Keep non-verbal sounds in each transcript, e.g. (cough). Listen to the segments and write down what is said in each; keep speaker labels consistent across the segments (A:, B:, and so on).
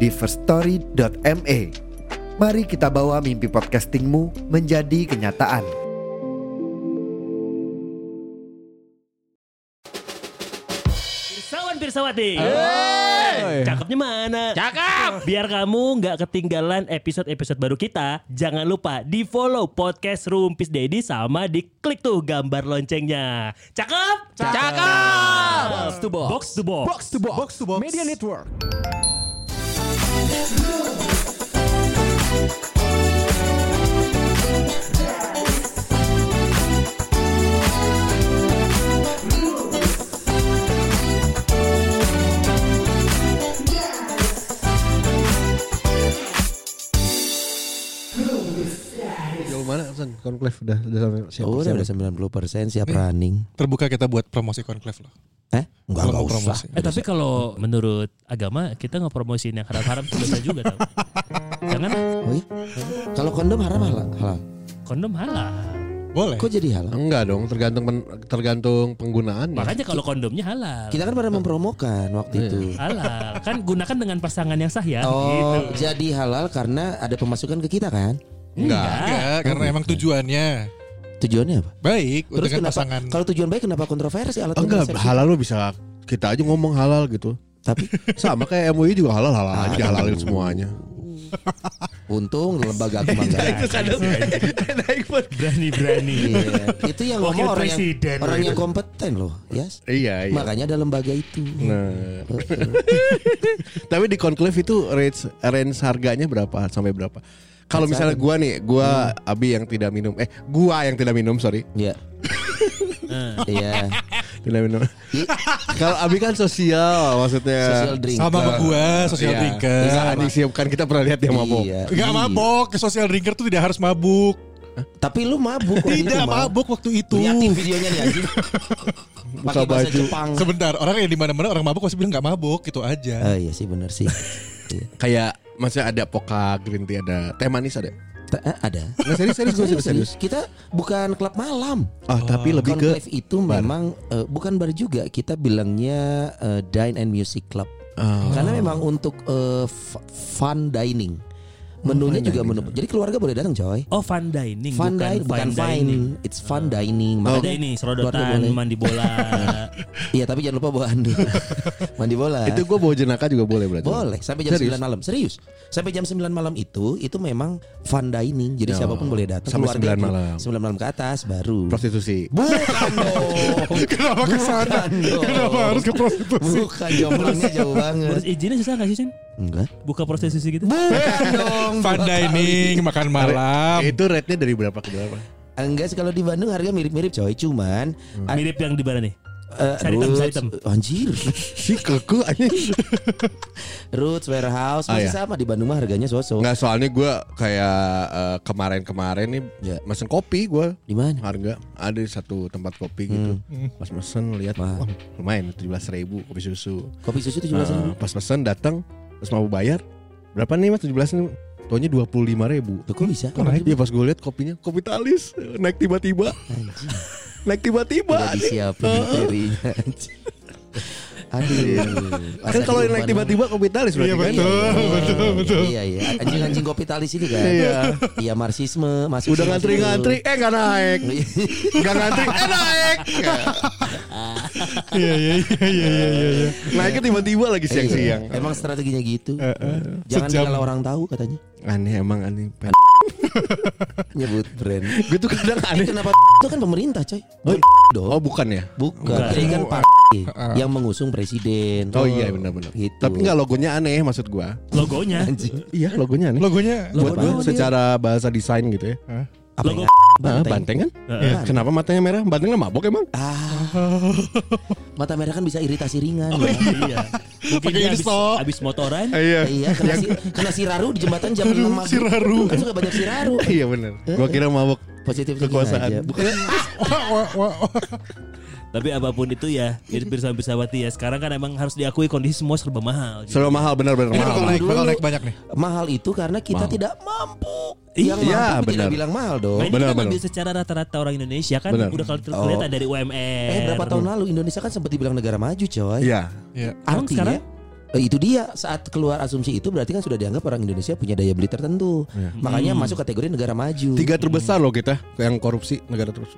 A: di firststory.me. Mari kita bawa mimpi podcastingmu menjadi kenyataan.
B: Pirsawan Pirsawati.
C: Hey.
B: Cakepnya mana?
C: Cakep.
B: Biar kamu nggak ketinggalan episode-episode baru kita, jangan lupa di follow podcast Rumpis Dedi sama diklik tuh gambar loncengnya. Cakep?
C: Cakep. Box to box.
B: Box to box.
C: to box. Box to box. Media Network.
D: Jauh mana San? Conclave udah udah sampai siap.
E: Oh, Udah
D: siap.
E: udah 90% siap running.
F: terbuka kita buat promosi konklave loh.
E: Eh?
F: Kalau
E: Enggak enggak
F: mau
E: usah.
F: promosi.
B: Eh tapi kalau menurut agama kita ngepromosiin yang haram-haram itu dosa juga tau. Jangan ah,
E: Oh iya? Kalau kondom haram halal. halal.
B: kondom halal.
F: Boleh.
E: Kok jadi halal?
D: Enggak dong, tergantung pen- tergantung penggunaan.
B: Makanya kalau kondomnya halal.
E: Kita kan pada mempromokan waktu
F: Eh.
E: itu.
F: Gitu.
B: Halal. Kan gunakan dengan pasangan yang sah ya.
E: Oh,
B: Gitu.
E: jadi halal karena ada pemasukan ke kita kan?
F: Enggak, enggak, karena emang tujuannya
E: Tujuannya apa?
F: baik
E: Terus
F: dengan
E: kenapa?
F: pasangan.
E: Kalau tujuan baik kenapa kontroversi alat
D: Oh, Enggak,
E: kontrasepsi?
D: halal lo bisa kita aja ngomong halal gitu.
E: Tapi
D: Sama kayak MUI juga halal halal aja dihalalin semuanya.
E: untung lembaga agama
F: (laughs)
E: enggak.
B: Berani-berani.
E: Iya. Itu yang
B: Wakil
E: ngomong orang yang
B: presiden.
E: orang yang kompeten loh, yes.
D: Iya, iya.
E: Makanya ada lembaga itu.
D: Nah. (laughs) Tapi di Conclave itu range range harganya berapa sampai berapa? Kalau misalnya gua nih, gua Abi yang tidak minum, eh gua yang tidak minum, sorry,
F: (laughs)
E: Iya.
F: Nah.
E: Iya.
D: tidak minum. (laughs) Kalau Abi kan sosial,
E: Social
D: maksudnya.
E: drink.
F: Sama sama gua, social
D: Iya.
F: drinker.
D: Enggak, anjing sih, bukan kita pernah lihat dia mabok.
E: Iya.
F: Enggak
E: Iya.
F: mabok, social drinker tuh tidak harus mabuk.
E: Tapi lu mabuk. waktu itu,
F: Tidak
E: Mal.
F: mabuk waktu itu.
E: Liatin videonya nih anjing. Pakai bahasa
D: baju.
E: Jepang.
F: Sebentar, orang yang di mana-mana orang mabuk masih bilang enggak mabuk gitu aja.
E: Oh iya sih benar sih. Iya.
D: Kayak masih ada poka green tea, ada teh manis ada.
E: Ta- eh, ada.
D: Nggak serius serius gue serius serius.
E: Kita bukan klub malam.
D: Ah tapi lebih ke
E: Conclave itu
D: bar.
E: memang eh, bukan bar juga. Kita bilangnya eh, dine and music club.
D: Ah,
E: Karena memang untuk eh, f- fun dining.
D: Oh,
E: Menunya juga menu. Jadi keluarga boleh datang, coy.
B: Oh fun dining bukan
E: Fun dining, bukan
B: fine
E: fine.
B: dining.
E: It's fun dining.
B: Ada ini serodotan
E: boleh.
B: mandi bola.
E: Iya, tapi jangan lupa bawa handuk. (laughs) Mandi bola.
D: itu gue bawa jenaka juga boleh berarti.
E: Iya. Boleh sampai jam
D: Serius?
E: 9 malam. Serius. Sampai jam 9 malam itu itu memang fun dining.
F: Ya.
E: Jadi
D: Oh.
E: siapapun boleh datang
D: Sampai
E: Keluarga
D: 9 malam.
E: 9 malam ke atas baru.
D: Prostitusi.
E: Bukan dong.
F: (laughs) Kenapa ke sana?
E: Bukan dong.
F: Kenapa harus ke prostitusi?
E: Bukan jomblangnya jauh banget.
F: (laughs)
B: Terus izinnya susah nggak sih Sen?
E: Enggak.
B: Buka proses gitu?
E: Bukan dong.
F: Fun dining, makan malam.
D: Itu rate-nya dari berapa ke berapa?
E: Enggak sih kalau di Bandung harga mirip-mirip coy, cuman ad-
B: Mirip yang di mana nih?
E: eh,
B: Sari hitam,
E: Roots-
B: sari hitam.
E: Anjir. (laughs)
D: Si keku anjing.
E: Roots Warehouse
D: Ah,
F: ya.
E: masih
D: iya.
E: sama di Bandung mah harganya sosok.
D: Enggak soalnya gue kayak eh, kemarin-kemarin nih
E: Ya.
D: mesen kopi gue
E: Di mana?
D: harga ada di satu tempat kopi gitu
E: Hmm.
D: pas mesen lihat
E: Mahal.
D: wah, lumayan tujuh ribu kopi susu
E: Kopi susu 17
D: Eh,
F: Ah.
E: ribu.
D: pas mesen datang terus mau bayar berapa nih mas tujuh belas nih Taunya dua puluh lima ribu
E: Tuh, kok bisa?
D: Iya pas gue lihat kopinya kopi talis naik tiba-tiba,
E: Anjir.
D: naik
E: Udah
D: tiba-tiba.
E: disiapin materinya. anjing. Aduh.
D: Kan kalau yang naik tiba-tiba kopi talis berarti kan.
E: Iya, betul, betul. Iya, iya. Anjing-anjing kapitalis ini kan.
D: Iya.
E: Iya, marxisme, Iya. masuk
D: Udah ngantri-ngantri, eh nggak naik, nggak ngantri, eh naik.
F: Iya iya iya iya iya iya.
D: Naiknya tiba-tiba lagi siang-siang.
E: Iya. Emang strateginya gitu. Jangan
F: Sejam.
E: kalau orang tahu katanya.
D: Aneh emang aneh.
E: Nyebut brand.
D: Gue tuh kadang
E: Ini
D: aneh.
E: kenapa itu kan pemerintah, coy.
D: Oh,
E: Dong.
D: Oh bukan ya?
E: Bukan.
B: Bukan.
E: Ini kan pak yang mengusung presiden.
D: Ah. Oh iya benar-benar.
E: Gitu.
D: Tapi nggak logonya aneh maksud gua.
B: Logonya.
E: anjing.
B: (laughs)
D: Iya logonya aneh.
E: (laughs)
F: Logonya
D: Buat
E: Logo
D: gua
E: aneh.
D: secara bahasa desain gitu ya.
E: Apa
B: Logo
E: ya?
D: Ah,
E: Banteng.
D: banteng kan?
B: Heeh.
E: Banteng.
D: Kenapa matanya merah? Banteng lah mabok emang?
E: Ah, mata merah kan bisa iritasi ringan. ya.
B: Iya. Mungkin
D: Pakai
B: dia habis,
D: irso.
B: habis motoran.
D: Oh, Iya.
E: Iya, kena, si, kena siraru di jembatan jam 6 maghrib.
D: siraru.
E: Kan suka banyak siraru.
D: Iya benar. Gua kira mabok
E: Positif thinking aja.
D: kekuasaan. Bukan.
B: Tapi apapun itu ya, pirsa Pirsawati ya. Sekarang kan emang harus diakui kondisi semua serba mahal. gitu.
D: Selalu mahal benar-benar
F: Ini
D: mahal.
F: bakal naik,
E: dulu.
F: bakal naik banyak nih.
E: Mahal itu karena kita tidak mampu.
B: Iya,
E: Yang mampu
D: benar.
E: tidak bilang mahal dong.
B: Nah, ini
D: benar,
B: kita ngambil
D: benar.
B: secara rata-rata orang Indonesia kan
D: Benar.
B: udah kalau kelihatan dari UMR.
E: Eh berapa tahun lalu Indonesia kan sempat dibilang negara maju coy.
D: Iya.
F: Iya.
B: Emang
E: Artinya
B: sekarang?
E: eh, itu dia saat keluar asumsi itu berarti kan sudah dianggap orang Indonesia punya daya beli tertentu. Makanya masuk kategori negara maju.
D: Iya. Hmm. Tiga terbesar loh kita yang korupsi negara terus.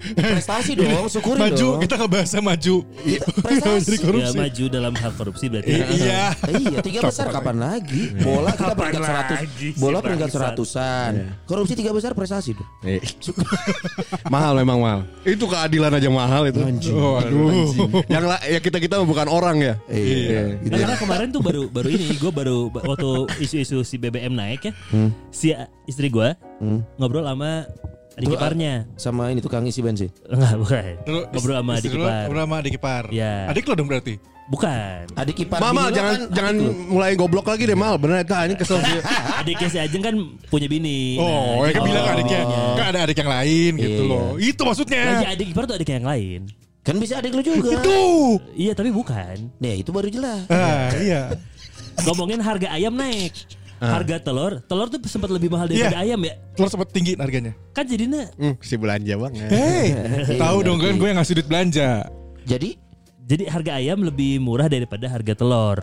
E: prestasi dong, syukurin
F: Maju,
E: dong.
F: kita ngebahasnya maju. (laughs)
E: prestasi.
F: Jadi
B: Ya
F: korupsi.
B: maju dalam hal korupsi berarti.
F: I- Iya.
E: Eh, iya, tiga besar kapan lagi? Bola kita peringkat seratus,
B: lagi sih,
E: bola peringkat
B: bangsat.
E: seratusan, korupsi tiga besar prestasi dong.
D: (laughs) Eh. mahal memang mahal. Itu keadilan aja mahal itu.
F: Oh, aduh.
D: Yang la- ya kita kita bukan orang ya.
E: Iya.
B: Nah, karena kemarin tuh baru baru ini gue baru ba- waktu isu-isu si BBM naik ya, si uh, istri gue ngobrol sama adik
E: Tuh,
B: iparnya.
E: Sama ini tukang isi bensin.
B: Enggak, bukan.
F: Dulu,
B: ngobrol sama
F: istri
B: adik
F: lu
B: ipar.
F: Ngobrol sama adik ipar.
B: Iya.
F: Adik lo dong berarti.
B: Bukan.
E: Adik ipar.
D: Mama
E: bini lo
D: jangan
E: kan-
D: jangan mulai goblok lagi deh mal. Benar itu hanya kesel. sih. (laughs)
B: Adiknya si Ajeng kan punya bini. Nah, gitu.
F: Oh, ya
B: jadi
F: kan bilang
B: punya
F: adiknya.
B: bininya.
F: Kan ada adik yang lain gitu
E: Iya.
F: loh. Itu
B: Lagi
F: maksudnya.
B: Nah, adik ipar tuh adik yang lain.
E: kan bisa adik lu juga.
F: Tuh.
B: Iya, tapi bukan.
E: Nah itu baru jelas.
F: Ah, iya.
B: Ngomongin harga ayam naik. Harga telur, telur tuh sempat lebih mahal daripada
F: Iya.
B: ayam ya.
F: Telur sempat tinggi harganya.
B: Kan jadinya
D: Hmm, si belanja banget.
F: Hei, tahu dong kan gue yang ngasih duit belanja.
E: Jadi
B: jadi harga ayam lebih murah daripada harga telur.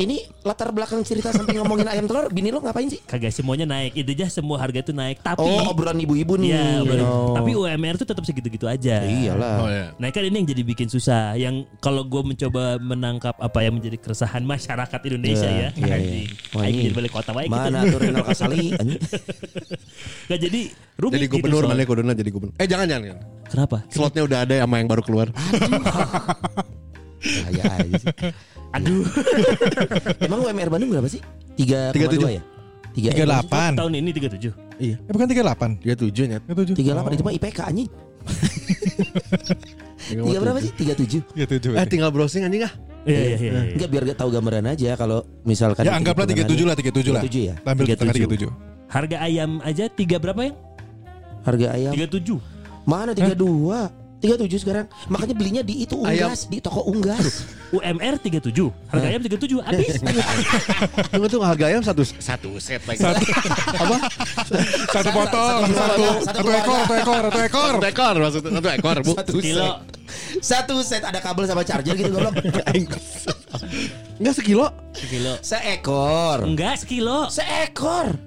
E: ini latar belakang cerita sampai ngomongin ayam telur, bini lo ngapain sih?
B: Kagak semuanya naik. Intinya semua harga itu naik, tapi
E: Oh obrolan ibu-ibu nih.
B: Iya, bener.
E: Oh.
B: tapi UMR tuh tetap segitu-gitu aja.
E: Iyalah.
D: Oh ya.
B: Nah kan ini yang jadi bikin susah. Yang kalau gue mencoba menangkap apa yang menjadi keresahan masyarakat Indonesia ya,
E: Iya, iya.
B: anjing,
E: Wah,
B: Aing
E: ini.
B: jadi balik kota wae gitu.
E: Mana tuh Renal Kasali?
B: Nah, jadi rumit
D: Jadi
B: gitu,
D: gubernur
B: Sol.
D: mana kuduna jadi gubernur. Eh jangan jangan. jangan.
B: Kenapa?
D: Slotnya udah ada sama yang baru keluar.
E: Bahaya aja sih.
B: Aduh,
E: Emang UMR Bandung berapa sih? Tiga
D: Tiga tujuh.
E: ya? Tiga
F: Tiga delapan.
B: tahun ini 37.
F: Eh bukan tiga delapan.
D: Dia tujuh nyet.
F: Tiga tujuh.
E: Tiga delapan itu mah IPK anjing. Tiga berapa sih? Tiga tujuh.
F: Iya, Tiga tujuh.
D: Eh tinggal browsing anjing ah.
B: Iya, iya, iya. iya.
E: Enggak biar gak tahu gambaran aja kalau misalkan.
F: Ya anggaplah tiga tujuh lah, tiga tujuh lah.
E: 37 ya?
F: Ambil kita tiga
E: 37.
F: tujuh.
B: Harga ayam aja tiga berapa ya? yang?
E: Harga ayam.
B: 37.
E: Mana tiga dua? Tiga tujuh sekarang. Makanya belinya di itu unggas, di toko
B: (laughs)
E: unggas.
B: UMR 37. Harga
E: Iya.
B: ayam 37 habis.
E: (laughs)
D: Tunggu tuh harga ayam satu satu set lagi.
F: Satu potong, satu,
E: satu- satu-
F: satu ekor, satu ekor, satu ekor.
D: Satu ekor maksudnya satu ekor bu.
B: Kilo.
E: set. Satu set ada kabel sama charger gitu goblok.
F: (laughs)
D: Enggak sekilo.
B: Sekilo.
E: Seekor.
B: Enggak, sekilo.
E: Seekor.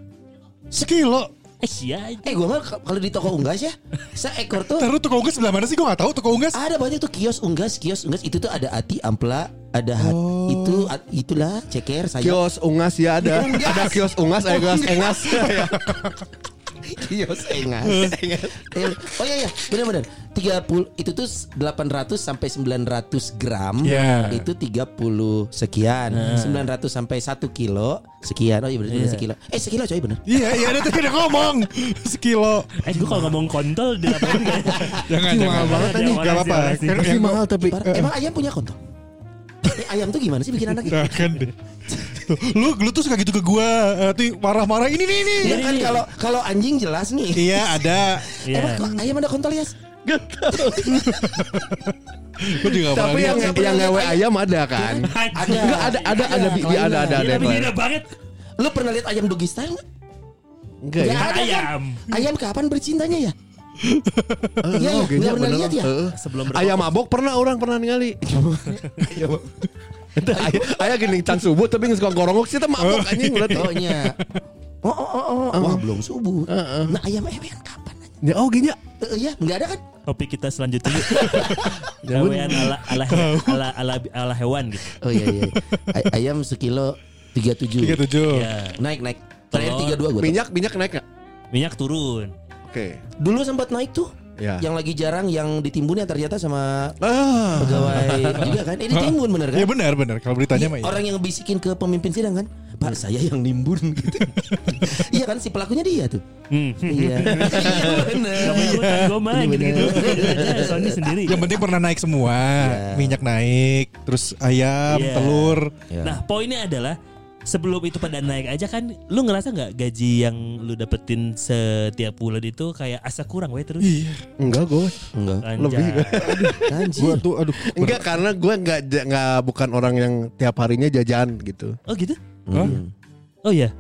F: Sekilo.
B: Eh, sia.
E: Eh gua mah kalau di toko unggas ya, seekor tuh
F: Terus tukang unggas sebelah mana sih? Gue gak tahu tukang unggas.
E: Ada banyak tuh kios unggas, kios unggas itu tuh ada ati ampla, ada hat,
F: Oh.
E: itu a- itulah ceker saya.
D: Kios ungas ya ada.
E: Ungas.
D: Ada kios ungas, ada kios (laughs) engas. Ya.
E: (laughs) kios engas. Eh, oh iya iya, benar-benar. 30 itu tuh 800 sampai 900 gram
F: Iya. Nah.
E: itu 30 sekian. 900 sampai 1 kilo sekian. Oh iya benar benar sekilo. Eh sekilo coy bener
F: Iya, iya, ada tadi udah ngomong. Sekilo.
B: Eh, gue kalau ngomong kontol iya. dilaporin (laughs) nggak?
F: Jangan,
D: Ih,
F: jangan.
D: mahal banget anjing.
F: Gak apa-apa.
B: Makasih,
F: Kan
B: makasih.
F: yang
D: mahal tapi.
E: Parah. Emang ayam punya kantong? Eh, ayam tuh gimana sih bikin anaknya?
F: Nah, kan deh. Tuh, Lu, lu tuh suka gitu ke gua. Nanti marah-marah ini nih nih.
E: Ya kan kalau kalau anjing jelas nih.
F: Iya ada.
E: Emang
B: Iya.
E: kok ayam ada kontol ya?
F: Gua juga gak pernah
D: Tapi yang
F: lihat.
D: yang ngewe ayam ada kan.
B: Ada.
D: Enggak Iya. ada Iya. ada ada bi- dia ada ada ada.
B: Gila,
D: yang lain.
B: gila banget.
E: Lu pernah lihat ayam doggy style? nggak?
D: Enggak ya.
E: Nggak ada, kan?
B: Ayam.
E: Ayam kapan bercintanya ya? Iya,
D: Oh,
E: iya.
D: gengnya
E: Nggak pernah
D: bener.
E: lihat ya?
D: Heeh.
B: Sebelum
D: Ayam mabok pernah orang pernah ningali.
E: Iya,
D: Ayah gini can subuh tapi nggak suka gorongok sih, tapi mabok anjing berarti.
E: Oh iya. Oh, oh, oh, oh. Wah belum subuh. Nah ayam ewean kapan?
D: Ya, oh gini ya.
E: Eh, Iya, nggak ada kan?
B: Topik kita selanjutnya. Kawean ala ala ala ala ala hewan gitu.
E: Oh iya iya. Ay- ayam sekilo tiga tujuh.
F: Tiga tujuh.
B: Ya.
E: Naik naik. Terakhir
B: Telur.
E: tiga dua gue.
D: Minyak minyak naik nggak?
B: Minyak turun.
D: Oke.
E: Dulu sempat naik tuh.
D: Ya.
E: Yang lagi jarang yang ditimbunnya ternyata sama
F: Ah.
E: (laughs) pegawai juga kan? Ini timbun bener kan?
F: Iya benar benar kalau beritanya mah
E: Orang yang bisikin ke pemimpin sidang kan?
F: Hmm.
E: Pak saya yang nimbun
F: (laughs)
E: gitu. iya kan si pelakunya dia tuh.
F: Hmm.
E: Iya. Iya bener.
B: Gak mau ikutan gue mah (laughs) gitu-gitu. Sony sendiri.
F: Yang penting pernah naik semua,
E: Iya.
F: minyak naik, terus ayam,
B: Iya.
F: telur.
B: Nah poinnya adalah sebelum itu pada naik aja kan lu ngerasa nggak gaji yang lu dapetin setiap bulan itu kayak asa kurang weh terus
F: Iya.
D: Enggak gue.
E: Enggak.
B: Anjay.
D: Lebih.
E: Anjir.
F: Tuh aduh.
D: Enggak karena gue enggak ja- enggak bukan orang yang tiap harinya jajan gitu.
B: oh gitu
F: Hah?
B: oh ya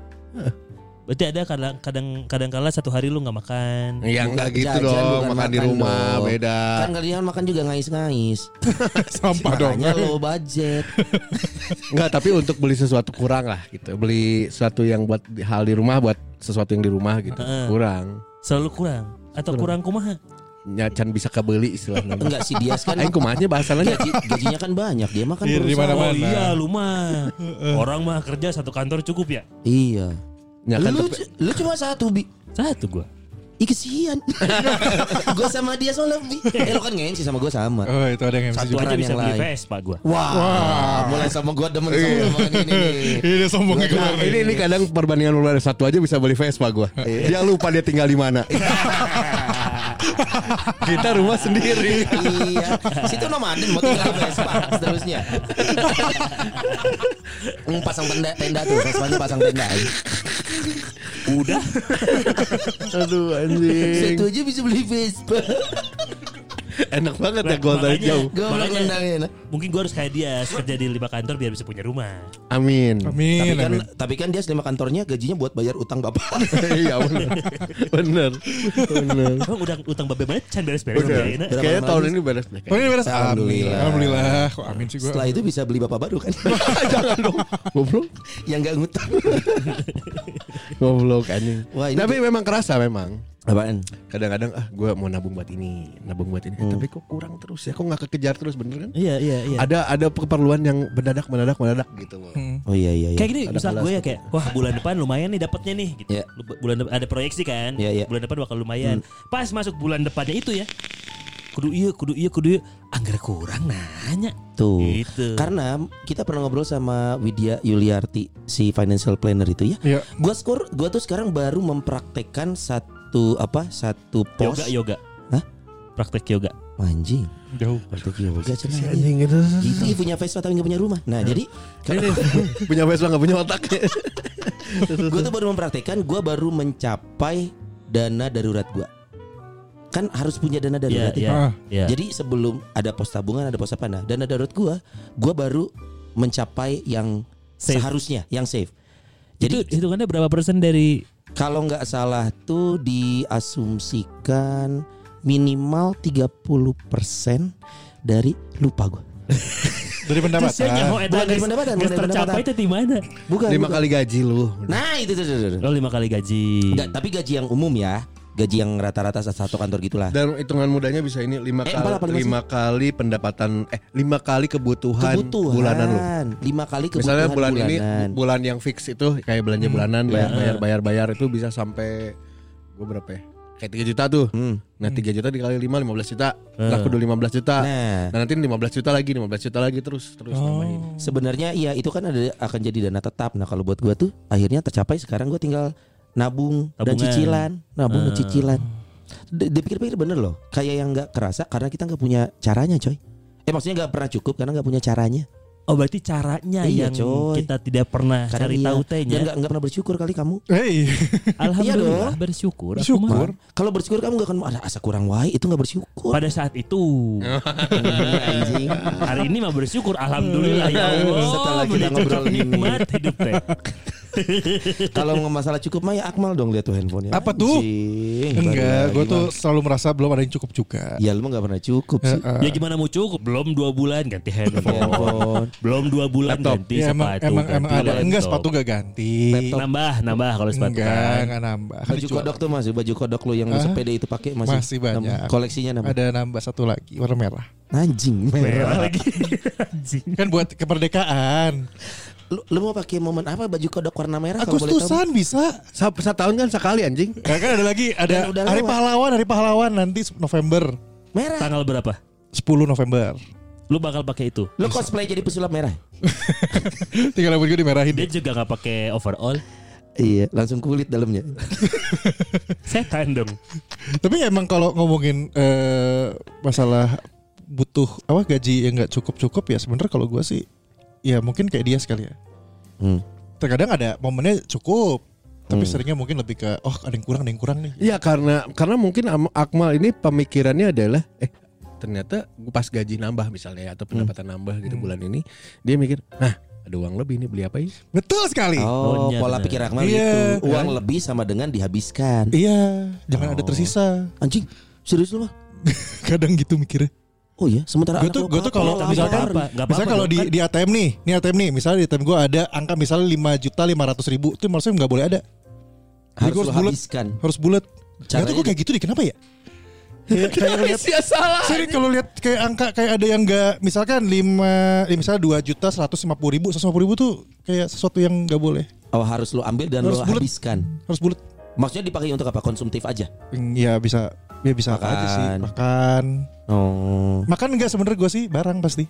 B: berarti ada kadang kadang kadang kala satu hari lu nggak makan
D: Ya enggak gitu
E: Iya, Jajan
D: dong,
E: bukan
D: makan, di
E: makan
D: rumah
E: dong.
D: beda.
E: Kan kalian makan juga ngais-ngais.
F: Sampah dong.
E: Makanya lo budget.
D: Enggak, tapi untuk beli sesuatu kurang lah gitu. Beli sesuatu yang buat di- hal di rumah buat sesuatu yang di rumah gitu.
B: Heeh.
D: Kurang.
B: selalu kurang atau kurang kumaha
D: Nyacan bisa kebeli istilahnya.
E: Enggak si Dias kan
D: Aing kumahnya bahasannya
E: gaji, gajinya kan banyak dia makan
F: Iya, di
E: berusaha.
F: mana-mana.
B: oh iya lu mah orang mah kerja satu kantor cukup ya
E: Iya.
D: nyacan
E: lu,
D: tepe-
E: lu cuma satu bi.
B: satu gua
E: Ih kesian (laughs) Gue sama dia soalnya lebih Eh lo kan nge-MC sama gue sama
F: Oh itu ada yang MC
B: satu
F: juga.
B: aja
E: Orang
B: bisa
E: yang
B: beli
E: lain.
B: Vespa gua
E: Wah,
F: Ah.
E: Mulai sama gue demen sama omongan
F: (laughs)
E: ini nih
F: Ini sombongnya
D: Nah,
F: keluar.
D: ini ini kadang perbandingan luar satu aja bisa beli Vespa gua.
E: Iya.
D: Dia lupa dia tinggal di
E: (laughs)
D: mana. Kita rumah sendiri.
E: Iya Situ nomaden mau tinggal di Vespa ya? Seterusnya Hmm, Pasang tenda, tenda tuh Vespanya pasang tenda
B: udah
D: Aduh anjing.
E: Satu aja bisa beli Vespa
D: Enak banget ya
B: Nah,
D: gua dari
B: makanya-
D: jauh.
E: Gue
B: Makanya-
E: nendangin
B: mungkin gua harus kayak dia kerja di lima kantor biar bisa punya rumah
D: Amin.
E: tapi
F: Amin,
E: kan,
F: amin.
E: tapi kan dia selama kantornya gajinya buat bayar utang bapak
D: (laughs) Iya benar. Benar. Benar.
B: Emang udah utang babe mana can beres-beres
D: Udah.
B: ya, Ina?
D: Iya. Kayaknya
E: lama
D: tahun
E: lagi?
D: ini beres deh.
F: Oh ini beres.
E: Alhamdulillah.
F: Alhamdulillah. Kok amin sih gue.
E: Setelah itu bisa beli bapak baru kan
D: (laughs) Jangan dong. Goblok.
E: Yang gak ngutang
D: Goblok anjing.
E: Wah, ini-
D: Tapi memang kerasa memang.
E: Apaan?
D: Kadang-kadang ah gua mau nabung buat ini, nabung buat ini. Eh,
E: Oh.
D: Tapi kok kurang terus ya? Kok nggak kekejar terus bener kan?
B: Iya iya
E: Ya.
B: iya.
D: Ada ada keperluan yang mendadak mendadak mendadak gitu. loh.
E: Oh iya iya iya
B: Kayak gini
D: Ada
B: misal
D: kelas
B: gue ya kayak wah bulan depan lumayan nih dapatnya nih gitu.
E: Iya.
B: Lu- Bulan depan ada proyeksi kan.
E: Iya, iya.
B: Bulan depan bakal lumayan. Pas masuk bulan depannya itu ya. Kudu iya, kudu iya, kudu iya. Anggar kurang nanya.
E: Tuh.
B: Gitu.
E: Karena kita pernah ngobrol sama Widya Yuliarti si financial planner itu ya.
F: Iya.
E: Gua skor gua tuh sekarang baru mempraktekkan satu apa? Satu
B: yoga
E: pos
B: yoga.
E: Hah?
B: Praktek yoga.
E: anjing.
F: Jauh.
E: Praktek
B: Iya,
E: yoga cuman.
D: Si anjing itu.
E: Gitu ya, punya Vespa tapi gak punya rumah. Nah, jadi
D: Ini (laughs) punya Vespa nggak punya otak.
E: (laughs) gua tuh baru mempraktekkan, gua baru mencapai dana darurat gua. Kan harus punya
B: Iya
E: dana darurat. ya.
B: iya.
F: Ah.
B: Iya.
E: Jadi sebelum ada pos tabungan, ada pos apa nah, dana darurat gua, gua baru mencapai yang
B: Safe.
E: seharusnya, yang safe.
B: Itu
E: Jadi
B: hitungannya berapa persen dari
E: Kalau nggak salah tuh diasumsikan minimal 30% dari lupa gue.
F: Dari pendapatan.
B: Terusnya nyaho eta
E: Bukan dari
B: geus-
E: pendapatan,
B: geus
E: bukan dari
B: tercapai
E: pendapatan.
B: teh di mana?
E: Bukan.
D: Lima
E: bukan.
D: kali gaji lu.
E: Nah, itu tuh. tuh, tuh, tuh.
B: Oh, lima kali gaji.
E: Nggak, tapi gaji yang umum ya. Gaji yang rata-rata satu kantor gitulah.
D: Dan hitungan mudahnya bisa ini lima
E: Eh,
D: kali
E: empat apa lima sih?
D: lima kali pendapatan eh lima kali kebutuhan,
E: Kebutuhan
D: bulanan lu.
E: Lima kali kebutuhan
D: Misalnya bulan ini
E: bulanan. Hmm. Ya.
D: bulan yang fix itu kayak belanja bulanan bayar bayar bayar bayar itu bisa sampai gue berapa ya? Kayak 3 juta tuh.
E: Hmm.
D: Nah 3 juta dikali 5 15 juta. Nah, aku udah 15 juta.
E: Nah. Oh.
D: Nah, nanti 15 juta lagi, 15 juta lagi terus terus nambahin.
E: Sebenarnya iya itu kan ada akan jadi dana tetap. Nah, kalau buat gua tuh akhirnya tercapai sekarang gua tinggal nabung
B: Tabungan.
E: dan
B: Ah.
E: cicilan, nabung dan cicilan. D- Dipikir-pikir bener loh, kayak yang nggak kerasa karena kita nggak punya caranya, coy. Eh maksudnya nggak pernah cukup karena nggak punya caranya.
B: Oh berarti caranya
E: Iya,
B: yang
E: coy.
B: kita tidak pernah Nah,
E: Karena
B: cari
E: iya.
B: tahu ya.
E: Dan
B: tehnya.
E: nggak nggak pernah bersyukur kali kamu.
F: Hey.
B: Alhamdulillah
E: dong.
B: bersyukur. aku mah.
F: Syukur.
E: Nah, Kalau bersyukur kamu nggak akan ada asa kurang wae itu nggak bersyukur.
B: Pada saat itu
E: (laughs) Anjing.
B: Hari ini mah bersyukur Alhamdulillah ya Allah
E: Setelah kita
B: begitu
E: ngobrol ini.
B: nikmat hidup teh
E: Kalau nggak masalah cukup mah ya Akmal dong lihat tuh handphonenya.
F: Apa tuh?
E: Anjing, baru
F: Enggak,
E: lagi,
F: gue tuh Eh,
E: Bang.
F: selalu merasa belum ada yang cukup juga.
E: Ya lu mah nggak pernah cukup sih.
B: Ya gimana mau cukup Belum dua bulan ganti
E: Ya
B: handphone
E: Handphone.
B: Belum dua bulan
D: Laptop.
B: ganti
F: Ya,
B: sepatu
F: emang
E: kan?
F: emang, emang
B: ganti
F: ada
B: laptop.
F: enggak sepatu gak ganti.
B: Nambah nambah kalau sepatu
F: Enggak,
B: kan
F: enggak nambah. Kan
E: Baju
F: dijual.
E: kodok tuh masih baju kodok lu yang
F: Hah?
E: sepeda itu pakai masih,
F: Masih banyak.
E: Nam- koleksinya nama
F: Ada nambah satu lagi warna merah.
E: anjing merah.
B: Merah lagi Anjing
F: Kan buat kemerdekaan.
E: Lu, lu mau pakai momen apa baju kodok warna merah kalau boleh tahu?
F: Agustusan bisa.
D: Sa- Setahun kan sekali anjing.
F: Nah, kan ada lagi ada
E: Dan udah
F: hari
E: lewat.
F: pahlawan, hari pahlawan nanti November.
E: Merah.
B: Tanggal berapa?
F: 10 November. (laughs)
B: Lu bakal pakai itu.
E: Lo cosplay jadi pesulap merah?
F: Tinggal rambut gue dimerahin.
B: Dia juga nggak pakai overall. (laughs)
E: Iya, langsung kulit dalamnya.
B: Setan dong.
F: Tapi emang kalau ngomongin eh, masalah butuh apa gaji yang nggak cukup cukup ya sebenarnya kalau gue sih ya mungkin kayak dia sekali ya.
E: Hmm.
F: Terkadang ada momennya cukup, tapi seringnya mungkin lebih ke oh ada yang kurang ada yang kurang nih.
D: Iya karena karena mungkin Am- Akmal ini pemikirannya adalah eh ternyata gua pas gaji nambah misalnya ya, atau pendapatan nambah gitu bulan ini dia mikir nah ada uang lebih nih beli apa ya?
F: Betul sekali.
E: Oh,
B: Ohnya
E: pola
B: bener.
E: pikir Akmal
F: Iya.
E: gitu. Uang lebih sama dengan dihabiskan.
F: Iya, jangan ada
E: Oh.
F: tersisa. (laughs)
E: Anjing, serius lu mah?
F: Kadang gitu mikirnya.
E: Oh iya, sementara
F: Gue
E: anak
F: tuh
E: lu
F: gue tuh kalau
E: lapar,
F: misalkan
B: apa-apa, nggak
F: misalnya
B: apa-apa
F: kalau
B: dong, Kan
F: di di ATM nih, nih ATM nih, misalnya di ATM gue ada angka misalnya lima juta lima ratus ribu, itu maksudnya nggak boleh ada. Jadi
E: harus
F: gua
E: lu
F: harus bulat,
E: habiskan.
F: harus bulat. Gak tuh
E: Caranya
F: gue kayak gitu deh, kenapa ya? (laughs) Kayak- kayak lihat
D: salah.
F: Sering kalau lihat kayak angka kayak ada yang nggak misalkan lima, eh, misalnya dua juta seratus lima puluh ribu, seratus lima puluh ribu tuh kayak sesuatu yang nggak boleh,
E: Oh, harus lu ambil dan
F: Harus
E: lu
F: bulat.
E: habiskan.
F: harus bulat.
E: Maksudnya dipakai untuk apa? Konsumtif aja.
F: Hmm, Ya bisa, ya bisa apa aja sih.
E: Makan.
F: Makan,
E: Oh.
F: makan nggak sebenernya gue sih barang pasti.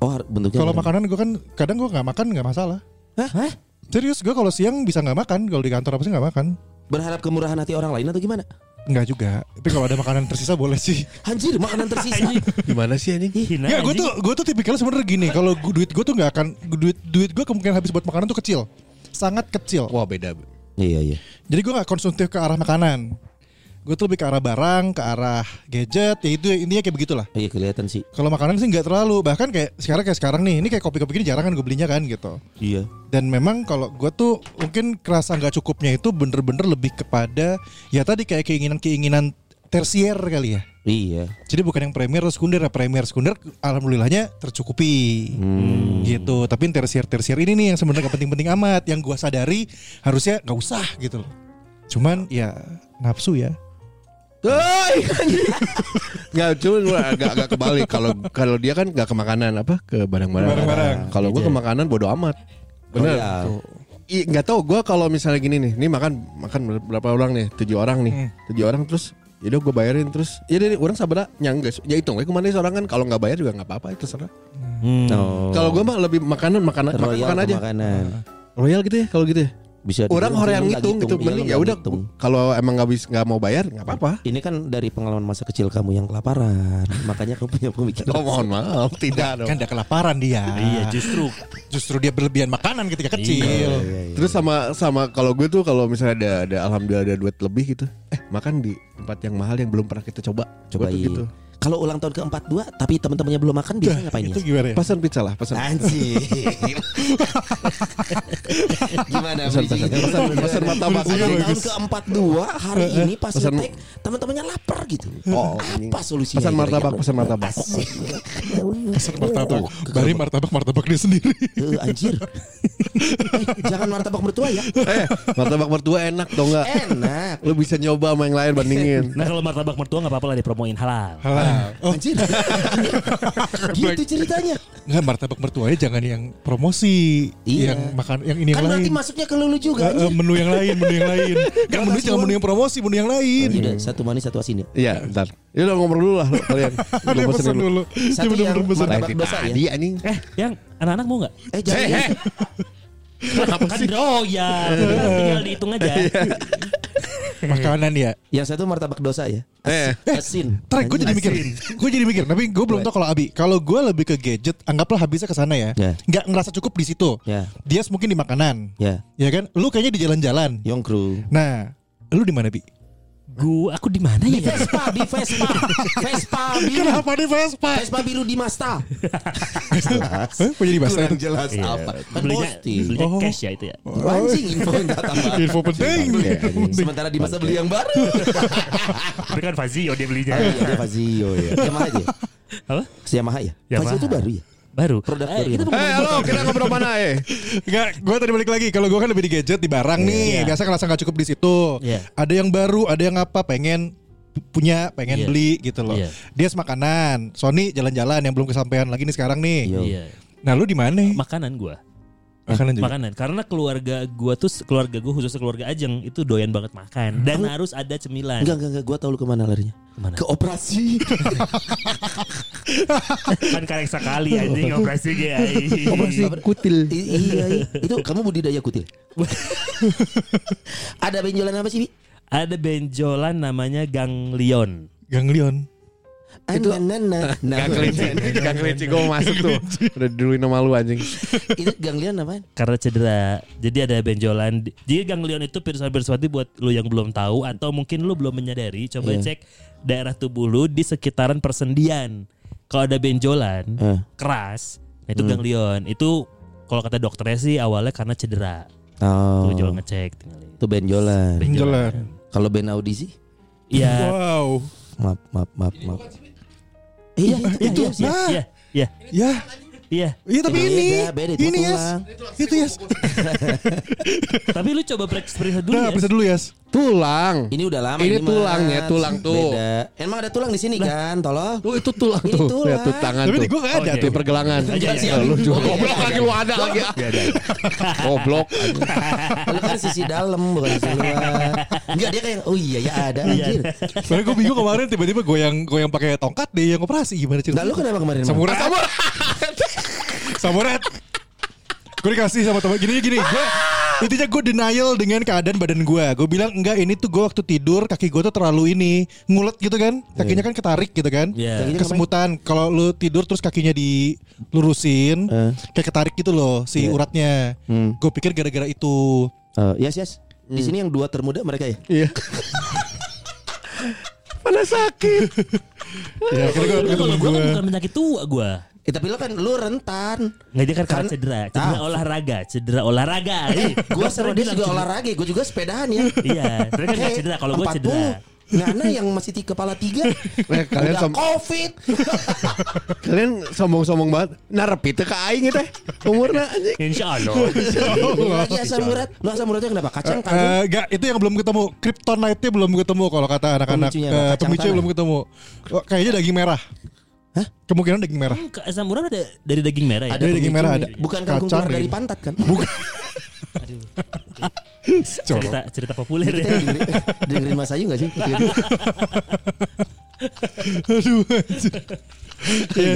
E: Oh, har- bentuknya.
F: Kalau
E: apa?
F: makanan gue kan kadang gue nggak makan nggak masalah.
E: Hah?
F: Serius gue kalau siang bisa nggak makan, kalau di kantor apa sih nggak makan.
E: Berharap kemurahan hati orang lain atau gimana?
F: Enggak juga. Tapi kalau ada makanan tersisa boleh sih.
E: Anjir, makanan tersisa.
D: Gimana sih anjing?
B: Hina Nah,
F: Enggak, gue
B: anjing.
F: Iya, tuh gue tuh tipikalnya sebenarnya gini. Kalau gua- duit gue tuh nggak akan duit duit gue kemungkinan habis buat makanan tuh kecil, sangat kecil.
D: Wah beda.
E: iya, iya.
F: Jadi gue nggak konsumtif ke arah makanan. Gue tuh lebih ke arah barang, ke arah gadget. Ya itu intinya kayak begitulah.
E: Iya, kelihatan sih.
F: Kalau makanan sih nggak terlalu. Bahkan kayak sekarang kayak sekarang nih, ini kayak kopi-kopi gini jarang kan gue belinya kan gitu.
E: Iya.
F: Dan memang kalau gue tuh mungkin kerasa nggak cukupnya itu bener-bener lebih kepada ya tadi kayak keinginan-keinginan tersier kali ya.
E: Iya.
F: Jadi bukan yang premier atau sekunder ya premier sekunder alhamdulillahnya tercukupi gitu. Tapi yang tersier tersier ini nih yang sebenarnya gak penting-penting amat yang gua sadari harusnya nggak usah gitu loh. Cuman ya nafsu ya.
D: (laughs) Enggak cuma gua agak agak kebalik kalau kalau dia kan nggak ke makanan apa ke barang-barang.
F: Barang-barang.
D: Kalau gua ke makanan bodo amat. Bener.
E: iya.
D: I- nggak tahu gua kalau misalnya gini nih, nih makan makan berapa orang nih? Tujuh orang nih.
F: Hmm.
D: Tujuh orang terus Yaudah gue bayarin terus Ya deh orang sabar nyangga Ya hitung ya kemana seorang kan Kalau nggak bayar juga nggak apa-apa itu serah
E: Oh.
D: Kalau gue mah lebih makanan makanan makan,
E: royal
D: makan
E: ke
D: aja.
E: makanan.
D: Royal gitu ya kalau gitu ya.
E: Bisa
D: Orang orang
E: dibilang
D: yang
E: lu nggak
D: ngitung gitu
E: iya, lu
D: mending ya
E: nggak
D: udah
E: ngitung.
D: kalau emang nggak bisa nggak mau bayar nggak
E: (laughs)
D: apa-apa.
E: Ini kan dari pengalaman masa kecil kamu yang kelaparan,
D: (laughs)
E: makanya kamu punya pemikiran.
D: Oh mohon maaf tidak dong.
F: Kan udah kelaparan dia.
B: Iya justru
F: Justru dia berlebihan makanan ketika
E: Iya,
F: kecil.
D: iya. Terus sama sama kalau gue tuh kalau misalnya ada ada alhamdulillah ada duit lebih gitu, eh makan di tempat yang mahal yang belum pernah kita coba. Gua
E: Coba
D: tuh gitu.
E: Kalau ulang tahun ke-42 tapi teman-temannya belum makan biasanya ngapain ya?
F: Itu gimana ya?
D: Pesan pizza lah, pesan.
E: Anjir. Gimana
D: Pesan pesan pesan pesan martabak.
E: Ulang Iya, tahun ke-42 hari ini pas
D: Pesan-
E: ngetek teman-temannya lapar gitu.
D: Oh, ini.
E: Apa solusinya?
D: Pesan
E: kira-kira?
D: martabak, pesan martabak.
E: Asik.
F: Martabak.
E: Oh,
F: Bari martabak martabak dia sendiri.
E: Eh, anjir. Eh, jangan martabak mertua ya.
D: Eh, martabak mertua enak dong enggak?
E: Enak.
D: Lu bisa nyoba sama yang lain bandingin.
B: Nah kalau martabak mertua nggak apa-apa lah dipromoin halal
F: Ah. Oh.
E: Anjir. gitu ceritanya.
F: Nggak martabak mertuanya jangan yang promosi,
E: Iya.
F: yang makan yang ini
E: Kan
F: yang
E: nanti
F: lain.
E: masuknya ke lulu juga.
F: Eh, eh,
E: anjir.
F: menu yang lain, menu yang
E: (laughs)
F: lain. Kan menu jangan menu yang promosi, menu yang lain.
E: Yaudah, satu manis satu asin ya.
D: Iya, bentar. Ya udah ngomong dulu lah lu, kalian. Gua
F: Dia pesan dulu. Dia
E: Satu
F: bener-bener
E: yang
F: pesan.
E: martabak
D: Lain
E: basah ya?
D: tadi anjing.
B: Eh yang anak-anak mau nggak?
E: Eh jangan.
D: Eh, eh. Kenapa
B: Kan
D: sih? Iya.
B: doyan Tinggal- Tinggal dihitung aja
F: Makanan ya.
E: Yang satu martabak dosa ya.
D: Eh.
E: Asin.
F: Trek gue jadi mikir,
E: Anjir.
F: gue jadi mikir. Tapi gue belum tahu kalau Abi. Kalau gue lebih ke gadget, anggaplah habisnya ke sana ya.
E: Ya.
F: Nggak ngerasa cukup di situ.
E: Ya.
F: Dia mungkin di makanan.
E: Ya.
F: Ya kan? Lu kayaknya di jalan-jalan.
E: Yongkru.
F: Nah, lu di mana bi?
B: Gua aku di mana ya?
E: Vespa, di Vespa. Vespa biru.
F: Kenapa di Vespa?
E: Vespa biru di Mazda.
F: Eh, kok jadi bahasa?
E: jelas apa. Kan
B: Belinya,
E: posting.
B: belinya cash ya itu ya
E: Anjing info nggak tambah.
F: Info penting.
E: Oke, anjing. Sementara di Mazda beli yang baru.
B: Tapi kan Fazio dia belinya
E: Ah, iya, ada Fazio ya. Yamaha aja. ya?
B: Apa?
E: Yamaha ya.
B: Yamaha.
E: Fazio itu baru ya.
B: Baru
E: Produk
B: Eh,
E: baru
B: kita
E: ya?
D: Eh, halo, kita ngobrol mana eh?
F: Enggak, gue tadi balik lagi. Kalau gue kan lebih di gadget, di barang nih.
B: Iya.
F: Biasa ngerasa nggak cukup di situ.
B: Iya.
F: Ada yang baru, ada yang apa? Pengen punya, pengen
B: Iya.
F: beli gitu loh.
B: Iya.
F: Dia makanan. Sony jalan-jalan yang belum kesampaian lagi nih sekarang nih.
E: Iya.
B: Iya
F: Nah, lu di mana?
B: Makanan gua
F: Makanan juga.
B: makanan karena keluarga gua tuh keluarga gua khususnya keluarga Ajeng itu doyan banget makan dan harus ada cemilan
E: Enggak, enggak, enggak. Gue tau lu kemana larinya. Ke operasi.
B: kan karek
E: (laughs)
B: sekali anjing operasi dia
E: kutil. iya, iya. Itu kamu budidaya kutil. Ada benjolan apa sih, Bi?
B: ada benjolan namanya ganglion
F: Ganglion.
E: Itu nana.
D: Gak kelinci, gak kelinci gue masuk tuh. Udah duluin nama lu anjing.
E: Itu ganglion apaan?
B: karena cedera jadi ada benjolan di- jadi ganglion itu pirusan-pirusan buat lu yang belum tahu atau mungkin lu belum menyadari coba
E: Iya.
B: cek daerah tubuh lu di sekitaran persendian kalau ada benjolan
E: Eh.
B: keras nah
E: Hmm.
B: itu ganglion itu kalau kata dokternya sih awalnya karena cedera
E: Oh.
B: tuh jual ngecek tinggalin
E: Itu benjolan.
F: Ganglion.
E: Kalau band audisi?
B: Iya,
F: Wow.
E: Maaf, maaf, maaf, maaf. Iya,
B: iya,
E: itu.
B: iya,
F: nah.
B: iya, iya,
F: Ya,
B: iya.
F: iya tapi
E: Beda,
F: ini.
E: beda, itu
F: ini yes.
E: tulang.
F: Itu yes.
B: Tapi lu coba periksa dulu
F: Udah,
B: ya.
F: periksa Nah, dulu yes.
D: Tulang.
E: Ini udah lama
D: Ini
E: Mas.
D: tulangnya, tulang tuh.
E: Beda. Emang ada tulang di sini kan, tolong?
D: Tuh itu tulang
E: Ini
D: tuh.
E: tulang.
D: Lihat tuh tangan
F: Tapi di
D: tuh.
F: gua gak ada
B: Oh, iya,
D: Tuh
F: tuh.
D: pergelangan.
B: Iya, iya.
D: Lu juga goblok lagi Iya, lu ada lagi. Goblok.
E: Kalau kan sisi dalam bukan sisi luar. Enggak dia kayak oh iya ya ada anjir.
F: Soalnya gue bingung kemarin tiba-tiba gue yang gue yang pakai tongkat deh yang operasi gimana cerita?
E: Nah, lu kenapa kemarin? Mam?
F: Samurai. (laughs) Samurai. Gue dikasih sama teman gini gini. Gue intinya gue denial dengan keadaan badan gue. Gue bilang enggak ini tuh gue waktu tidur kaki gue tuh terlalu ini ngulet gitu kan. Kakinya kan ketarik gitu kan.
B: Iya.
E: Kakinya
F: Kesemutan. Kalau lu tidur terus kakinya dilurusin
E: Eh.
F: kayak ketarik gitu loh si
E: Iya.
F: uratnya.
E: Hmm.
F: Gue pikir gara-gara
E: (laughs)
F: itu.
E: Eh, yes yes. Di sini yang dua termuda mereka ya.
D: Iya. Pada sakit.
F: Ya, akhirnya gue
B: Kalau
F: ketemu
B: gue
F: gue.
B: kan bukan penyakit tua gue.
E: Eh, tapi lu kan lu rentan.
B: Nggak dia kan karena
E: Kan-
B: cedera, cedera
E: Ah.
B: olahraga, cedera (laughs) olahraga. Ih,
E: Gua
B: dokter bilang
E: sama dia
B: gitu.
E: juga
B: cedera.
E: olahraga, gua juga sepedaan ya. Eh,
B: Iya, dia kan nggak cedera. Kalau gue cedera,
E: Nana yang masih di kepala tiga
D: Eh, kalian
E: Udah
D: sam-
E: (laughs) covid
D: Kalian sombong-sombong banget. Narepi teh ke aing teh. Umurna anjing.
B: insya Allah.
E: Ini lagi asam urat iya, Lu asam uratnya kenapa? Kacang kan?
F: Eh, enggak, itu yang belum ketemu. Kryptonite-nya belum ketemu kalau kata anak-anak.
E: Pemicunya
F: Pemicunya,
E: apa? Kacang
F: pemicunya
E: tanah.
F: belum ketemu. Oh, kayaknya daging merah.
E: Hah?
F: Kemungkinan daging merah. (laughs)
B: Ke asam urat ada dari daging merah ya.
F: Ada daging merah ada.
E: Bukan kangkung keluar dari pantat kan? Bukan
B: Cerita cerita populer ya.
E: dengerin, dengerin Mas Ayu gak (laughs) sih? Oh,
F: Aduh. anjir. Iya.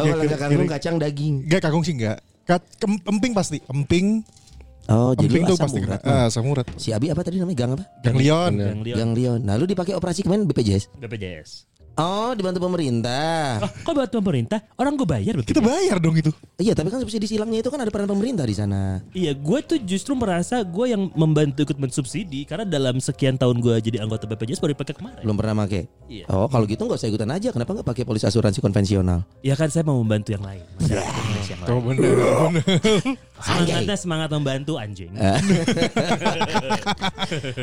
E: Oh, kalau nggak kangkung kacang daging
F: Enggak kangkung sih enggak. Kat, kem- emping pasti. Emping,
E: Oh jadi
F: emping
E: lu
F: tuh
E: asam
F: pasti.
E: urat
F: kena. Ah, asam urat.
E: Si Abi apa tadi namanya? Gang apa?
F: Ganglion.
B: Ganglion.
E: Gang Leon Nah lu dipakai operasi kemarin BPJS?
B: BPJS.
E: Oh dibantu pemerintah
B: Oh, kok buat pemerintah? Orang gue bayar BPJS.
F: Kita bayar dong itu.
E: Iya tapi kan subsidi silangnya itu kan ada peran pemerintah di sana
B: Iya, gue tuh justru merasa gue yang membantu ikut mensubsidi karena dalam sekian tahun gue jadi anggota BPJS baru dipakai kemarin.
E: Belum pernah pakai?
B: Iya.
E: Oh kalau gitu nggak usah ikutan aja Kenapa nggak pakai polis asuransi konvensional?
B: Ya kan saya mau membantu yang lain. Masyarakat Indonesia yang lain.
F: Tuh Oh, (laughs) bener. bener.
B: Semangatnya semangat membantu anjing.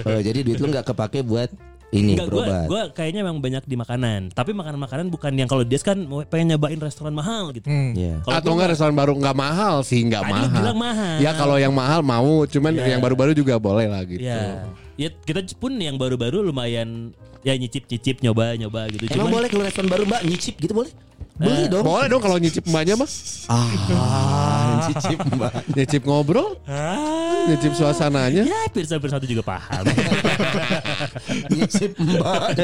E: Oh, jadi duit lu nggak kepake buat ini
B: Enggak gue
E: berobat.
B: gue kayaknya emang banyak di makanan. Tapi makanan-makanan bukan yang kalau dia kan mau- pengen nyobain restoran mahal gitu.
F: Hmm.
E: Iya.
B: Kalau
D: Atau
B: gua
D: enggak restoran baru enggak mahal sih, enggak
B: Tadi lu
D: mahal.
B: bilang mahal.
D: Ya kalau yang mahal mau, cuman
B: Iya.
D: yang baru-baru juga boleh lah gitu.
B: Ya. Ya kita pun yang baru-baru lumayan ya nyicip-nyicip nyoba-nyoba gitu.
E: Emang boleh kalau respon baru mbak nyicip gitu boleh?
B: Eh,
E: Beli dong.
D: Boleh dong kalau nyicip mbaknya mah.
E: Ah, nyicip mbak.
D: Nyicip ngobrol,
B: Ah,
D: nyicip suasananya.
B: Ya, pirsa-pirsa itu juga
D: (laughs)
B: paham.
E: nyicip
B: (laughs)
E: mbak.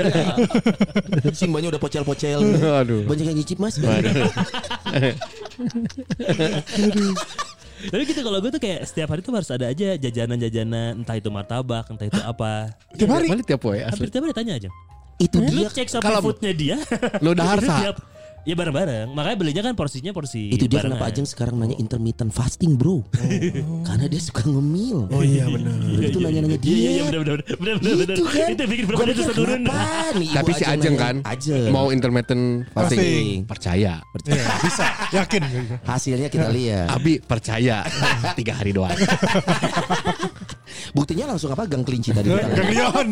E: si mbaknya udah pocel-pocel.
D: Aduh.
E: Banyak yang nyicip mas.
B: Tapi gitu kalau gue tuh kayak setiap hari tuh harus ada aja jajanan-jajanan entah itu martabak, entah itu apa.
D: Tiap hari. tiap poe asli.
B: Hampir tiap hari tanya aja.
E: Itu
B: Lu
E: dia.
B: cek
D: kalau-
B: sampai foodnya dia.
D: Lu
B: (laughs)
D: udah harsa.
B: Tiap- Ya bareng-bareng. Makanya belinya kan porsinya porsi
E: Itu dia
B: barengan.
E: kenapa Ajeng sekarang nanya intermittent fasting
B: Oh.
E: bro. Karena dia suka ngemil. Oh iya benar. Itu nanya-nanya
B: Iya iya iya
E: dia.
B: benar benar benar benar benar.
E: Gitu kan.
B: Itu bikin
E: Gua
B: berat itu
E: pikir,
B: turun.
E: kenapa nih
D: Tapi
E: Ibu
D: si Ajeng kan
E: nanya- Ajeng.
D: mau intermittent
E: Fasting.
D: fasting. Percaya.
F: Iya, bisa. (laughs) Yakin.
E: Hasilnya
D: (laughs)
E: kita lihat.
D: Abi percaya tiga hari doang.
E: Buktinya langsung apa gang kelinci tadi.
F: Ganglion.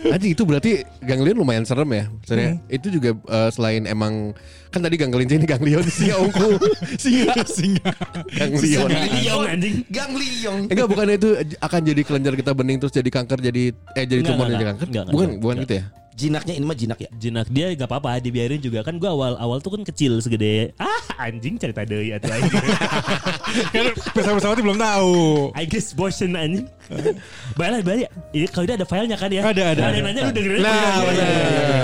D: Anjing itu berarti ganglion lumayan serem ya. Maksudnya itu juga eh, selain emang kan tadi ganglion ini ganglion singa ungu, singa
F: Singa.
D: ganglion. Eh,
B: Ganglion Iya, anjing.
E: Gang Liyong.
D: Enggak bukan itu akan jadi kelenjar kita bening terus jadi kanker jadi eh jadi
B: Enggak,
D: tumor
B: enggak,
D: jadi
B: enggak.
D: kanker.
B: Enggak, enggak,
D: bukan
B: enggak.
D: bukan gitu ya.
E: jinaknya ini mah jinak ya.
B: Jinak dia gak apa-apa dibiarin juga kan gua awal-awal tuh kan kecil segede ah anjing cerita deui atuh anjing. (laughs)
F: Pesawat-pesawat belum tahu.
B: I guess bosen anjing. Balik balik. Ini kalau dia ada filenya kan ya.
F: Ada, ada.
B: Ada yang nanya lu dengerin.
F: Nah,
E: Iya,
F: benar.
E: iya, iya, iya.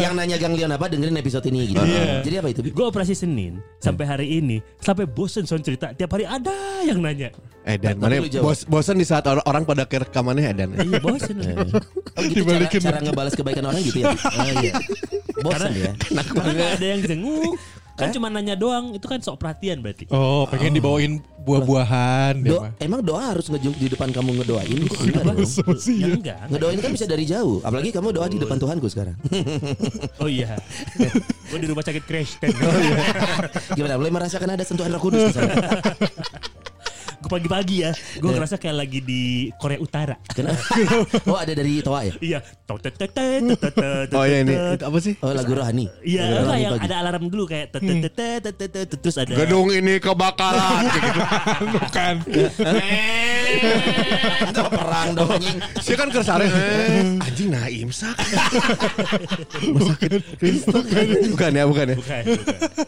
E: (laughs) Yang nanya ganglion apa dengerin episode ini gitu.
B: Iya.
E: Jadi apa (laughs) itu? Bi?
B: Gue operasi Senin sampai hari ini sampai bosen soal cerita tiap hari ada yang nanya.
D: Eh dan
E: Tapi
D: mana
E: lu jawab.
D: bos, bosan di saat or- orang pada ke rekamannya eh dan.
B: Iya bosen.
E: (laughs) Oh, gitu cara,
F: Dibalikin.
E: cara ngebalas kebaikan orang gitu
B: (laughs)
E: ya. Bi? Oh, iya. Bosan ya.
B: Karena nggak ada yang jenguk.
E: Eh?
B: Kan cuma nanya doang itu kan sok perhatian berarti.
F: Oh, pengen dibawain buah-buahan dia
E: Do-
F: mah.
E: emang doa harus ngejung di depan kamu ngedoain
B: Iya,
E: gitu. Enggak (laughs) dong.
B: Ya, enggak.
E: Ngedoain kan bisa dari jauh. Apalagi kamu doa di depan Tuhanku sekarang. (laughs)
B: Oh iya. Gue di rumah sakit crash
D: Oh iya.
E: Gimana? Mulai merasakan ada sentuhan Roh Kudus di
B: (laughs)
E: sana.
B: Gue pagi-pagi ya.
D: Iya.
B: Gue ngerasa kayak lagi di Korea Utara.
E: Kenapa? Oh, ada dari Toa ya?
B: Iya. Totetetetetetetetetetetet.
D: Oh ya ini itu apa sih?
E: Oh, lagu rohani.
B: Iya,
E: Lagu
B: enggak
E: rohani
B: yang
E: pagi.
B: ada alarm dulu kayak
D: Hmm.
B: tetetetetetetetet, terus ada
D: Gedung ini kebakaran. Eh,
F: Bukan.
E: Iya. Ada (laughs) perang dong anjing.
D: Dia kan kersare. Eh, anjing nah imsak. bukan ya, bukan ya.
B: Bukan, bukan.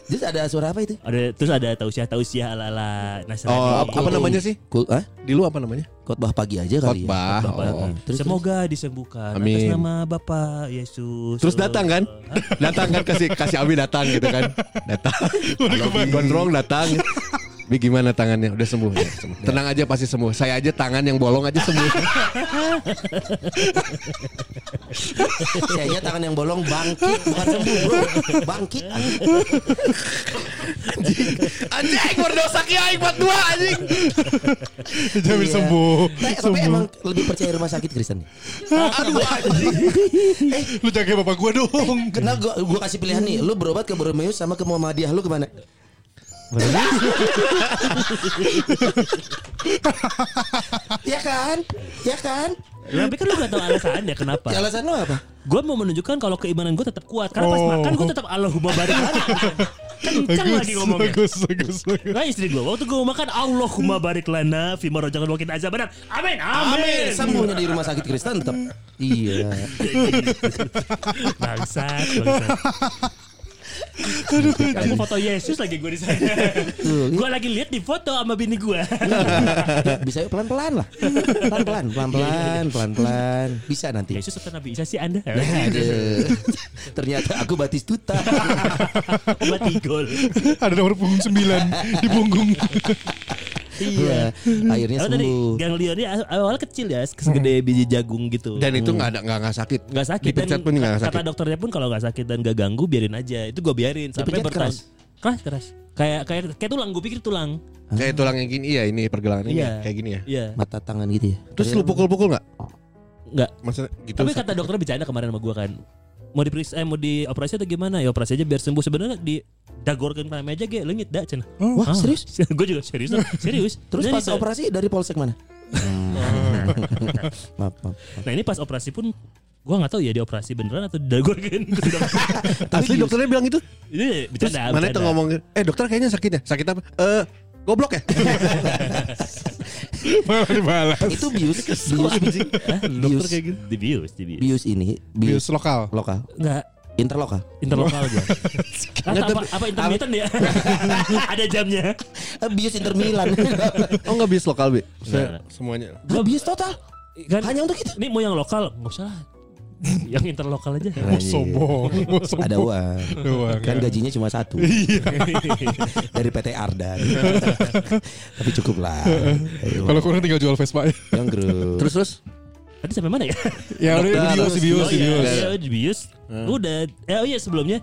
E: Terus ada suara apa itu?
B: Ada terus ada tausiah tausiah ala ala Nasrani.
D: Oh, apa, apa namanya sih?
E: Kul ah?
D: Di lu apa namanya?
E: Khotbah pagi aja kali
D: Khotbah.
E: ya.
D: Oh.
E: Terus, (laughs)
B: Semoga disembuhkan atas
D: Amin.
B: nama Bapa Yesus.
D: Terus datang kan?
B: Hah?
D: Datang kan kasih kasih Abi datang gitu kan. (laughs) Datang. Abi Gondrong datang. Bi gimana tangannya? Udah sembuh ya? Sembuh. Tenang aja pasti sembuh. Saya aja tangan yang bolong aja sembuh.
E: terus sayanya tangan yang bolong bangkit bukan sembuh bro. Bangkit.
D: (laughs) anjing berdosa kiai buat dua anjing.
F: Jamin
E: Iya.
F: sembuh.
E: Tapi tapi
F: Sembuh.
E: emang lebih percaya rumah sakit Kristen. ya?
D: Aduh anjing.
F: Eh, Lu jaga bapak gua dong.
B: Eh,
E: Kenal gua gua kasih pilihan nih, lu berobat ke Borneo sama ke Muhammadiyah lu kemana? ya kan? Ya kan?
B: Tapi kan lu gak tahu alasannya kenapa.
E: Ya, alasan lu apa?
B: Gue mau menunjukkan kalau keimanan gue tetap kuat. Karena pas
F: Oh.
B: makan gue tetap Allahumma barik
D: (laughs)
B: lana. Kencang lagi ngomongnya.
F: Bagus, bagus, bagus.
B: Nah istri gue waktu gue mau makan Allahumma barik lana Fima rojangan wakin azab benar Amin Amin,
E: Amin, sembuhnya di rumah sakit Kristen tetap. Iya.
B: (laughs) Bangsat Bangsat Kamu foto Yesus lagi gue di sana.
E: Iya,
B: gue lagi lihat di foto sama bini gue.
E: Bisa yuk pelan-pelan lah. Pelan-pelan, pelan-pelan, pelan-pelan. Bisa nanti. Eh,
B: Yesus atau Nabi Isa sih Anda? (laughs) iya,
E: Aduh. Ternyata aku Batistuta.
B: Obat igol.
F: Ada nomor punggung 9 di punggung.
E: iya. Akhirnya
B: Kalau tadi
E: sembuh.
B: ganglionnya awal kecil ya, segede biji jagung gitu.
D: Dan itu nggak ada nggak nggak sakit.
B: nggak sakit kan?
D: Dipencet pun nggak
B: kata
D: sakit.
B: dokternya pun kalau nggak sakit dan nggak ganggu biarin aja itu gue biarin sampai
E: Dipencet
B: bertahun keras keras kayak kayak kayak tulang gue pikir tulang
D: Kayak tulang yang gini iya ini pergelangan ini
B: Iya.
D: kayak gini ya.
B: iya
E: Mata tangan gitu ya.
D: Terus lu pukul-pukul nggak?
B: nggak
D: Maksudnya gitu.
B: tapi kata dokter bercanda kemarin sama gue kan mau diperiksa eh, mau dioperasi atau gimana ya operasi aja biar sembuh sebenarnya di dagorkan kami aja ge leungit da cenah
D: Oh,
E: Wah,
B: (laughs)
E: serius?
B: gue Ah. juga serius
D: (laughs)
B: serius
E: Terus
B: Dan
E: pas
B: itu-
E: operasi dari polsek mana? (laughs) maaf, maaf.
B: nah ini pas operasi pun gue nggak tahu ya dioperasi beneran atau
D: (laughs)
B: didagorkan
D: Asli dokternya bilang gitu.
B: ini
D: Terus
B: bercanda
D: mana
B: bercanda.
D: itu ngomong Eh dokter kayaknya sakit ya Sakit apa? Eh goblok (laughs) ya
F: Malah dibalas.
E: Itu bius, bius,
B: Hah?
E: bius,
B: dibius dibius
E: bius ini,
F: Bius
E: bius
F: lokal.
E: lokal,
B: nggak
E: interlokal.
B: Interlokal
E: (laughs)
B: aja. Atau apa, apa intermittent ya? (laughs) Ada jamnya.
E: Eh, Bius Inter Milan.
D: Oh nggak bis lokal Bi
B: Nggak,
D: Saya-
B: nggak.
D: Semuanya
E: Gua bius total.
B: Kan,
E: Hanya untuk kita.
B: ini mau yang lokal nggak usah lah. Yang interlokal aja.
E: Iya.
F: Oh, sombong. Oh, sombong.
E: Ada uang.
F: Doang,
E: Kan
F: ya.
E: gajinya cuma satu dari PT Ardan. Tapi cukup lah. Ayo,
F: Kalau kurang tinggal jual Vespa.
E: Yang grup.
D: Terus terus
B: Tadi sampai
E: (laughs)
B: mana ya?
F: ya udah bius, bius,
B: oh, iya,
F: bius.
B: iya, dibius. Udah. Eh, oh iya sebelumnya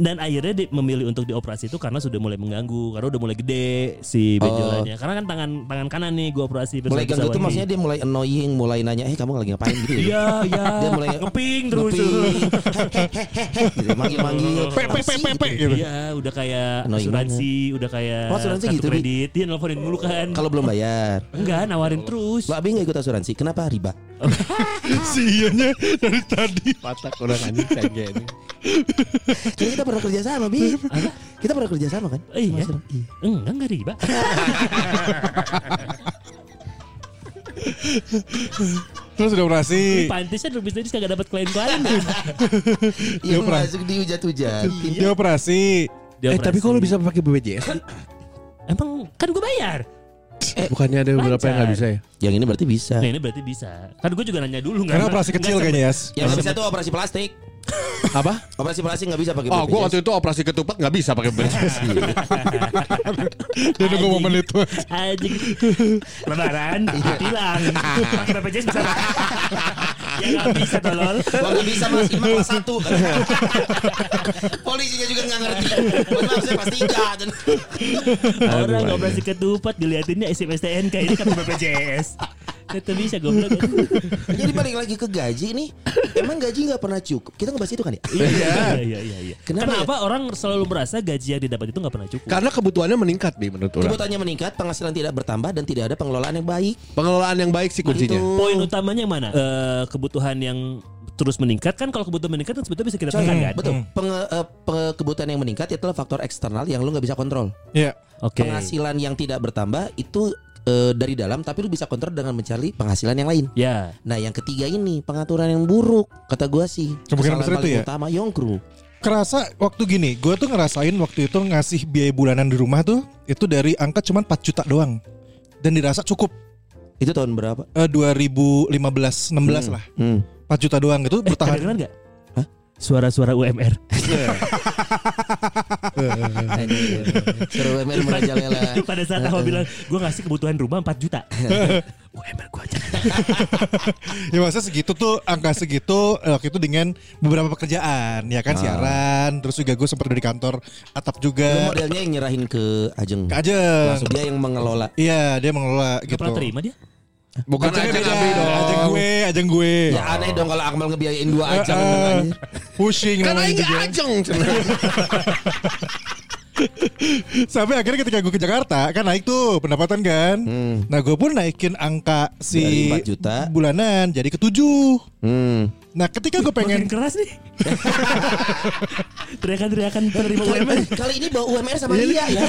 B: dan akhirnya di- memilih untuk dioperasi itu karena sudah mulai mengganggu karena udah mulai gede si benjolannya karena kan tangan tangan kanan nih gua operasi
E: Oh. mulai ganggu
B: pesawat
E: tuh
B: nih.
E: maksudnya dia mulai annoying, mulai nanya, "Eh, kamu lagi ngapain?" gitu.
B: Iya, iya.
E: (laughs) Dia mulai
B: ngeping terus.
E: (laughs) Gitu, manggil-manggil.
F: Pe, pe, pe, pe, pe, gitu.
B: Iya, udah kayak
E: Annoying
B: asuransi, udah kayak
E: Oh, asuransi
B: kartu
E: gitu, Bi?
B: kredit. Dia nelponin dulu kan.
E: Kalau belum bayar.
B: enggak
F: Oh.
B: nawarin terus.
E: Lo abi nggak ikut asuransi, kenapa riba?
F: Si ianya dari tadi.
D: Patak orang anjing kayak ini
E: Kayaknya Eh, kita pernah kerja sama, Bi. Kita pernah kerja sama kan?
B: Eh, iya.
E: Asuransi. Iya.
B: Enggak, enggak
F: (laughs)
B: riba.
F: Terus udah
B: Ini
F: operasi.
B: pantisnya lebih tadi kagak dapat klien-klien.
E: Iya
F: Dia pernah-
E: masuk dihujat-hujatin.
F: Dia operasi.
B: Dia
D: eh tapi
B: operasi.
D: kok lu bisa pakai BPJS?
B: Emang kan gue bayar.
D: Bukannya ada beberapa yang nggak bisa ya?
E: Yang ini berarti bisa.
B: Nah ini berarti bisa. Kan gue juga nanya dulu nggak-
F: Karena operasi
B: nggak
F: kecil
B: sempet-
F: kayaknya, ya. Yas.
E: Yang nggak bisa tuh operasi plastik.
D: Apa?
E: Operasi plastik nggak bisa pakai.
D: Oh, gue
E: BPJS.
D: waktu itu operasi ketupat nggak bisa pakai (laughs) BPJS.
F: Dia nunggu momen itu.
B: (laughs) Anjing.
F: (laughs)
B: Lebaran tilang. Pakai BPJS bisa nggak? Ya nggak bisa tolol.
E: Wah nggak bisa mas, Imam kelas satu (laughs) Polisinya juga nggak ngerti Mohon maaf saya pasti tiga dan (laughs)
B: Orang nggak operasi ketupat diliatinnya SMSTNK ini kan BPJS. Tetap bisa
F: (laughs)
B: goblok.
E: Jadi balik lagi ke gaji nih Emang gaji nggak pernah cukup Kita ngebahas itu kan ya
B: Iya iya iya. iya.
E: Kenapa
B: Kenapa,
F: ya?
B: orang selalu merasa gaji yang didapat itu nggak pernah cukup?
D: Karena kebutuhannya meningkat nih menurut orang.
E: Kebutuhannya meningkat, penghasilan tidak bertambah dan tidak ada pengelolaan yang baik.
D: Pengelolaan yang baik sih kuncinya.
E: Itu.
B: Poin utamanya yang mana? Eh, kebutuhan yang terus meningkat kan kalau kebutuhan meningkat kan sebetulnya bisa kita
E: Coy,
B: tekan kan?
E: betul. Penge- eh, pe- kebutuhan yang meningkat itu adalah faktor eksternal yang lu nggak bisa kontrol.
F: Iya.
B: Oke.
E: Penghasilan yang tidak bertambah itu eh, dari dalam, tapi lu bisa kontrol dengan mencari penghasilan yang lain.
B: Ya.
E: Nah, yang ketiga ini pengaturan yang buruk, kata gua sih.
F: Kemungkinan
E: Kesalahan
F: besar itu
E: paling
F: ya?
E: Utama Yongkru.
F: Kerasa waktu gini, gue tuh ngerasain waktu itu ngasih biaya bulanan di rumah tuh itu dari angka cuman 4 juta doang. Dan dirasa cukup
E: Itu tahun berapa?
F: eh, 2015 16
D: Hmm.
F: lah. 4 juta doang itu
B: Eh,
F: bertahan. (laughs)
B: kedengeran nggak? Suara-suara UMR. Eh, iya,
E: Seru UMR merajalela.
B: (laughs) Pada saat aku bilang gue ngasih kebutuhan rumah 4 juta. UMR gue aja.
F: ya maksudnya segitu tuh angka segitu eh, waktu itu dengan beberapa pekerjaan ya
D: Ah.
F: kan siaran terus juga gue sempat dari kantor atap
E: Lu
F: juga
E: modelnya yang nyerahin ke Ajeng.
F: Ke Ajeng.
E: Langsung dia yang mengelola.
F: Iya dia mengelola
B: Gak
F: gitu.
B: pernah terima dia.
D: Bukan aja
F: Ajeng,
D: Abi dong.
F: ajeng gue, ajeng gue.
E: Ya aneh dong kalau Akmal ngebiayain dua Ajeng.
F: Eh, Pusing
D: Kan
F: namanya gitu
D: aing nggak
F: juga.
D: ajeng.
F: Sampai akhirnya ketika gue ke Jakarta kan naik tuh pendapatan kan. Nah gue pun naikin angka si
E: Hmm. Dari 4 juta.
F: bulanan jadi ke 7.
E: Hmm.
F: Nah ketika gue
B: Pengen
F: pengen
B: keras nih. Teriakan-teriakan penerima UMR.
E: Kali, kali ini bawa UMR sama
F: Iya,
E: dia ya.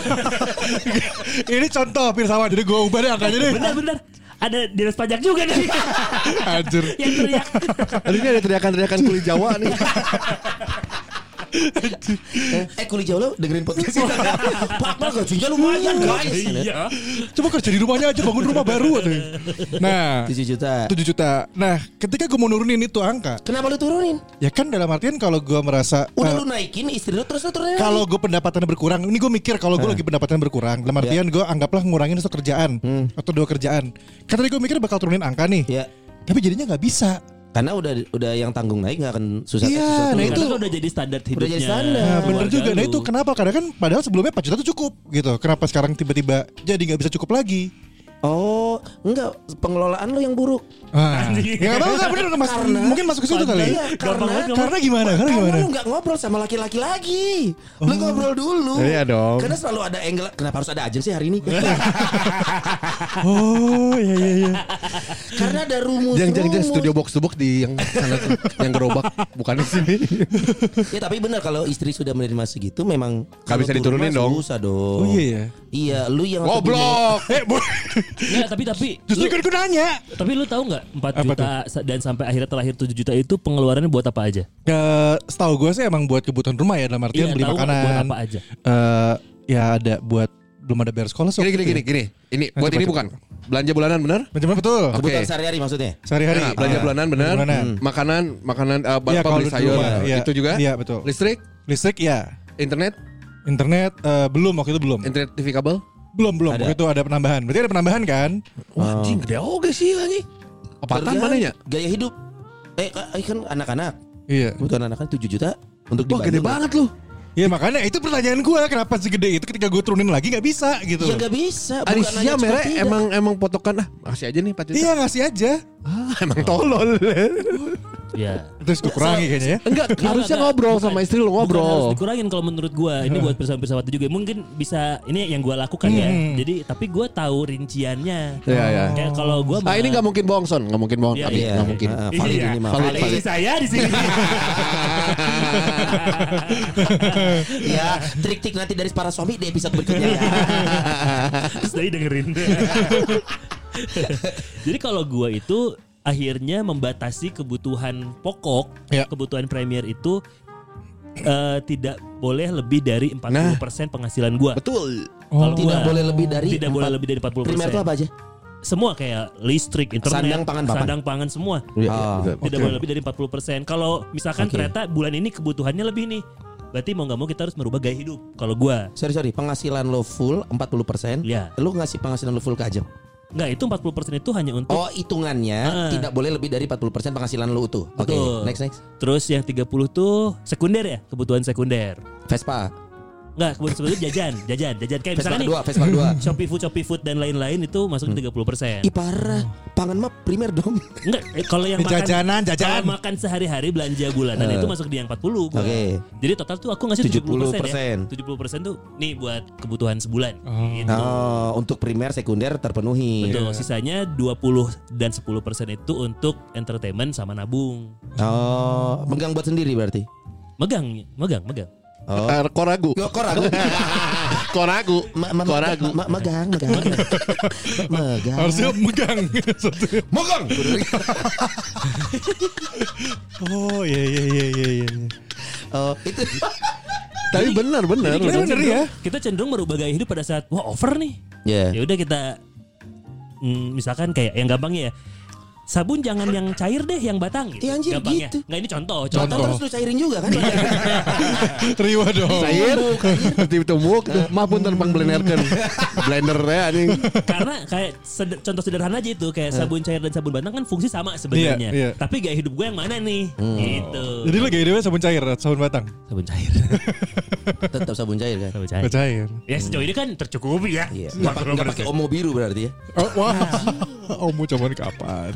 F: (laughs) ini contoh pirsawan jadi gue ubah deh angkanya deh.
B: Benar-benar. Ada dinas pajak juga nih.
F: Anjir.
B: (laughs) yang teriak.
D: Aduh ini ada teriakan-teriakan kuli Jawa nih.
E: eh kulit jauh lo dengerin podcast
F: (laughs)
E: kita. Pak Akmal gajinya lumayan guys.
B: Iya.
F: Coba kerja di rumahnya aja bangun rumah baru katanya. Nah
E: 7 juta.
F: 7 juta. Nah, ketika gue mau nurunin itu angka,
E: Kenapa lu turunin?
F: ya kan dalam artian kalau gue merasa eh,
E: Udah lu naikin istri lu terus lu turunin. lagi.
F: kalau gue pendapatannya berkurang, ini gue mikir kalau gue
E: Eh.
F: lagi pendapatannya berkurang,
E: Ya.
F: dalam artian gue anggaplah ngurangin satu kerjaan
E: Hmm.
F: atau dua kerjaan. Kan tadi gue mikir bakal turunin angka nih,
E: ya
F: tapi jadinya nggak bisa.
E: karena udah udah yang tanggung naik nggak akan susah.
F: Iya,
E: susah turun.
F: nah
B: Itu
F: Itu-
B: udah jadi standar hidupnya.
E: Udah jadi standar.
D: Ah,
F: Nah, bener
B: Keluarga
F: juga. Nah
B: lu.
F: itu kenapa? Karena kan padahal sebelumnya 4 juta tuh cukup gitu. Kenapa sekarang tiba-tiba jadi nggak bisa cukup lagi?
E: Oh, enggak pengelolaan lu yang buruk.
F: Ah,
B: Anjing.
F: ya nggak tahu nggak bener mas,
E: Karena-
F: mungkin masuk ke situ kali. ya?
E: Iya,
B: Gampang
E: karena
B: banget ngomong.
F: Karena gimana? Karena
E: Karena
F: gimana? Oh.
E: lu nggak ngobrol sama laki-laki lagi. Lu ngobrol dulu.
D: (laughs) Iya dong.
E: Karena selalu ada angle. Kenapa harus ada ajeng sih hari ini?
F: (laughs) Oh iya iya
D: (laughs)
F: iya.
E: karena ada rumus.
D: Jang jang jang
E: rumus.
D: studio box box di yang sana tuh, yang gerobak bukan di (laughs) sini.
E: Ya tapi benar kalau istri sudah menerima segitu memang
D: Nggak bisa
E: kalau turun
D: diturunin
E: mah
D: dong.
E: Susah dong.
F: Oh iya ya.
E: Iya, lu yang waktu
D: Goblok.
F: Eh,
D: (laughs)
F: bu-
B: Nggak, tapi tapi
F: justru
B: lu,
F: kan gue nanya.
B: tapi lu tahu nggak 4
F: Apa
B: juta sa- dan sampai akhirnya terakhir 7 juta itu pengeluarannya buat apa aja?
F: Eh, setahu gue sih emang buat kebutuhan rumah ya dalam artian
B: Iya,
F: beli
B: tahu nggak
F: makanan.
B: buat apa aja?
F: Eh, ya ada buat belum ada bayar sekolah.
D: Gini gini gini gini. Ini buat ini bukan belanja bulanan bener?
F: Macam apa betul?
E: dia kebutuhan
D: Oke.
E: sehari-hari maksudnya.
F: Sehari-hari.
D: Nah, belanja
F: Ah,
D: bulanan bener.
F: Iya, belanja bulanan.
D: Hmm. Makanan makanan eh, ba-
F: Iya,
D: apa,
F: kalau
D: beli
F: di
D: sayur
F: rumah, iya.
D: itu juga.
F: Iya, betul.
D: Listrik,
F: Listrik ya.
D: internet,
F: Internet eh, belum waktu itu belum.
D: internet TV kabel.
F: belum belum. Waktu itu ada penambahan. Berarti ada penambahan kan?
D: Wah, anjing gede oge sih anjing. Apaan
E: Kerjaan,
D: mana ya?
E: Gaya hidup. Eh ka- eh, kan anak-anak.
F: Iya.
E: Kebutuhan anak-anak 7 juta untuk
D: Wah, gede
E: dibantu.
D: banget lu.
F: Iya makanya itu pertanyaan gue kenapa segede itu ketika gue turunin lagi nggak bisa gitu.
D: Iya,
E: Ya nggak bisa. bukan
D: Arisia
E: hanya cuma
D: mere
E: tidak.
D: emang emang potokan ah kasih aja nih 4 juta.
F: Iya ngasih aja.
D: Ah, emang tolol.
B: Ya.
F: Terus gue kurangi kayaknya ya.
D: Enggak, harusnya
B: enggak.
D: ngobrol sama istri
B: Bukan
D: lu
B: harus
D: ngobrol.
B: dikurangin kalau menurut gua ini buat pesawat-pesawat juga mungkin bisa ini yang gua lakukan ya
F: Hmm.
B: jadi tapi gua tahu rinciannya
D: Iya, iya.
B: kayak kalau gua
D: Ah ini nggak mungkin bohong son, nggak mungkin bohong.
B: Iya,
D: Abi,
E: Iya,
D: nggak mungkin.
E: Ah,
B: Iya,
E: valid ini mah.
B: valid,
E: Valid.
B: saya di
D: (laughs)
B: sini.
E: (laughs) ya, trik-trik nanti dari para suami di episode berikutnya ya.
B: (laughs) Terus dari dengerin. Jadi kalau gua itu akhirnya membatasi kebutuhan pokok,
F: Ya.
B: kebutuhan premier itu eh, tidak boleh lebih dari 40% penghasilan gua.
D: Betul.
B: Kalau
E: Tidak
B: gua-
E: boleh lebih Nah. dari
B: tidak boleh
E: empat-
B: lebih dari 40%.
E: Primer itu apa aja?
B: Semua kayak listrik, internet,
E: Sandang, pangan, papan.
B: sandang, pangan semua.
D: Iya,
E: Ah.
D: betul.
B: Tidak boleh lebih dari 40%. Kalau misalkan
E: Oke.
B: ternyata bulan ini kebutuhannya lebih nih. Berarti mau nggak mau kita harus merubah gaya hidup. Kalau gua
E: Sorry sorry, penghasilan lo full 40%.
B: Iya.
E: Lo ngasih penghasilan lo full ke Ajeng.
B: nggak itu 40% itu hanya untuk
E: Oh, hitungannya
B: Ah.
E: tidak boleh lebih dari 40% penghasilan lo utuh. Oke,
B: Betul.
E: next next.
B: Terus yang 30 tuh sekunder ya, kebutuhan sekunder.
E: Vespa.
B: Enggak, kebutuhan sekunder jajan, jajan, jajan kayak
E: Vespa
B: misalkan nih
E: kedua, Vespa (laughs) kedua.
B: Shopee Food, Shopee Food dan lain-lain itu
F: Hmm.
B: masuk di 30%.
E: Ih parah, pangan mah primer dong.
B: Enggak, eh, kalau yang makan
F: Jajanan, jajan. Eh.
B: kalau makan sehari-hari belanja bulanan itu masuk di yang 40. gua.
E: Oke.
B: Jadi total tuh aku ngasih 70%,
E: 70%.
B: ya. 70% tuh nih buat kebutuhan sebulan. Gitu.
E: Oh, untuk primer
F: iya.
E: sekunder terpenuhi.
B: Betul, sisanya 20 dan 10% itu untuk entertainment sama nabung.
E: Oh, megang buat sendiri berarti. Oh.
B: Megang, megang, megang.
E: (laughs)
D: Eh, Koragu.
E: Yo koragu.
D: Koragu.
E: Ma- ma-
D: Koragu.
E: ma- ma- Megang, megang. (laughs) Megang.
F: Harusnya
D: (laughs)
F: megang.
E: Megang.
F: oh iya iya iya iya. iya.
E: Oh, (laughs) itu
D: Tapi benar benar.
F: Jadi
D: benar.
F: bener ya.
B: Kita cenderung merubah gaya hidup pada saat wah over nih.
E: ya.
B: ya udah kita mm, misalkan kayak yang gampangnya ya sabun jangan yang cair deh yang batang gitu.
E: Iya, anjir,
B: gampangnya.
E: gitu.
B: Nggak ini contoh,
E: Contoh
B: contoh.
E: terus lu cairin juga kan? (laughs)
F: Terima dong.
D: Cair Tiba temuk Mah pun terbang blenderkan kan. Blender ya anjing
B: Karena kayak seder- contoh sederhana aja itu kayak sabun cair dan sabun batang kan fungsi sama sebenarnya.
F: Iya, iya.
B: Tapi gaya hidup gue yang mana nih? Gitu.
F: Jadi lagi hidupnya sabun cair, sabun batang.
B: (laughs) sabun cair.
E: Tetap sabun cair kan?
B: sabun
F: Sabun
B: cair.
F: cair.
B: Ya sejauh ini kan tercukupi ya.
E: Iya. Nggak pak- nggak pakai omo biru berarti ya?
F: Oh, wah. Omu cuman kapan?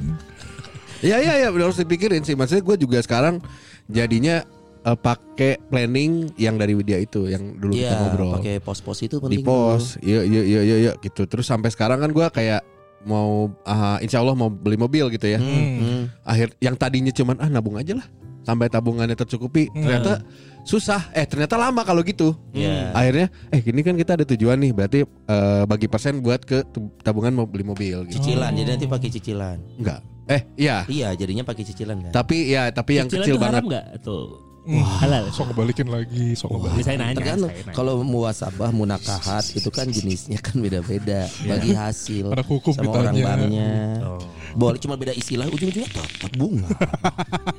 D: Ya ya ya harus dipikirin sih Maksudnya gue juga sekarang Jadinya eh, pakai planning yang dari Widya itu yang dulu kita
E: Iya.
D: ngobrol
E: Pakai pos-pos itu
D: di
E: penting.
D: pos iya iya iya iya iya, gitu terus sampai sekarang kan gue kayak mau ah, insya Allah mau beli mobil gitu ya
E: Hmm.
D: akhir yang tadinya cuman ah nabung aja lah sampai tabungannya tercukupi ternyata susah eh ternyata lama kalau gitu
E: Iya.
D: akhirnya eh gini kan kita ada tujuan nih berarti eh, bagi persen buat ke tu- tabungan mau beli mobil gitu
E: Cicilan, jadi nanti pakai cicilan.
D: enggak eh iya
E: Iya, jadinya pakai cicilan kan.
D: tapi ya tapi yang
B: Cicilan
D: kecil
B: tuh haram
D: banget
B: nggak tuh? (laughs) Halal.
F: Sok kebalikin lagi, sok kebalikin.
B: Ini saya nanya.
E: Tergantung
B: saya nanya.
E: kalau muasabah munakahat itu kan jenisnya kan beda-beda
B: Iya.
E: bagi hasil
F: Anak hukum
E: sama
F: ditanya.
E: orang banknya.
B: Oh.
E: Boleh cuma beda istilah ujung-ujungnya tetap bunga.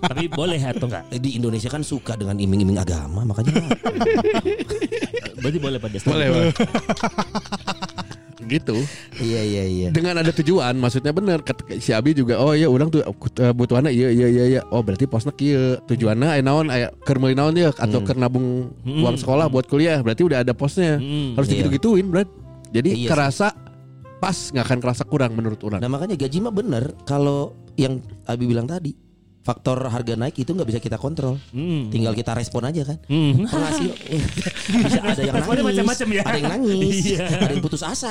B: Tapi boleh atau enggak?
E: Eh, Di Indonesia kan suka dengan iming-iming agama makanya
B: (laughs) Berarti boleh pada Islam.
D: boleh boleh. gitu
E: iya iya iya.
D: dengan ada tujuan maksudnya bener Ket- si Abi juga oh iya orang tuh eh, butuhannya iya iya iya iya oh berarti posnek iya tujuannya eh naon eh, keur meuli naon ya atau
E: Hmm.
D: keur nabung uang sekolah buat kuliah berarti udah ada posnya
B: Hmm.
D: harus
E: Iya.
D: digitu-gituin Brad jadi
E: Iya sih.
D: kerasa pas nggak akan kerasa kurang menurut orang
E: Nah makanya gaji mah bener kalau yang Abi bilang tadi faktor harga naik itu nggak bisa kita kontrol.
B: Hmm.
E: Tinggal kita respon aja kan.
B: Hmm. (laughs)
E: Penghasil bisa ada yang
B: Responnya
E: nangis,
B: macam-macam ya.
E: ada yang nangis,
B: Iya.
E: ada yang putus asa.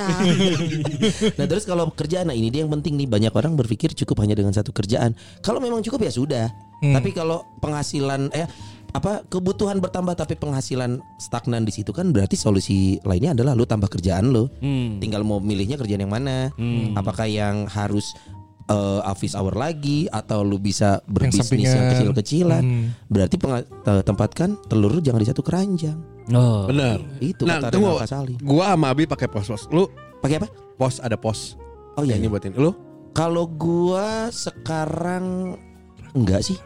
E: (laughs) nah terus kalau kerjaan, nah ini dia yang penting nih banyak orang berpikir cukup hanya dengan satu kerjaan. Kalau memang cukup ya sudah.
B: Hmm.
E: Tapi kalau penghasilan eh apa kebutuhan bertambah tapi penghasilan stagnan di situ kan berarti solusi lainnya adalah lu tambah kerjaan lu.
B: Hmm.
E: Tinggal mau milihnya kerjaan yang mana. Apakah yang harus eh, office hour lagi atau lu bisa berbisnis yang,
F: sampingan.
E: kecil-kecilan.
F: Hmm.
E: Berarti penga- te- tempatkan telur lu jangan di satu keranjang.
B: Oh.
D: bener
E: Itu
D: nah
E: kata
D: tunggu
E: Renal Kasali.
D: gua sama Abi pakai pos-pos lu
E: Pakai apa?
D: pos ada pos
E: Oh iya.
D: ini
E: iya.
D: buatin lu
E: Kalau gua sekarang enggak sih.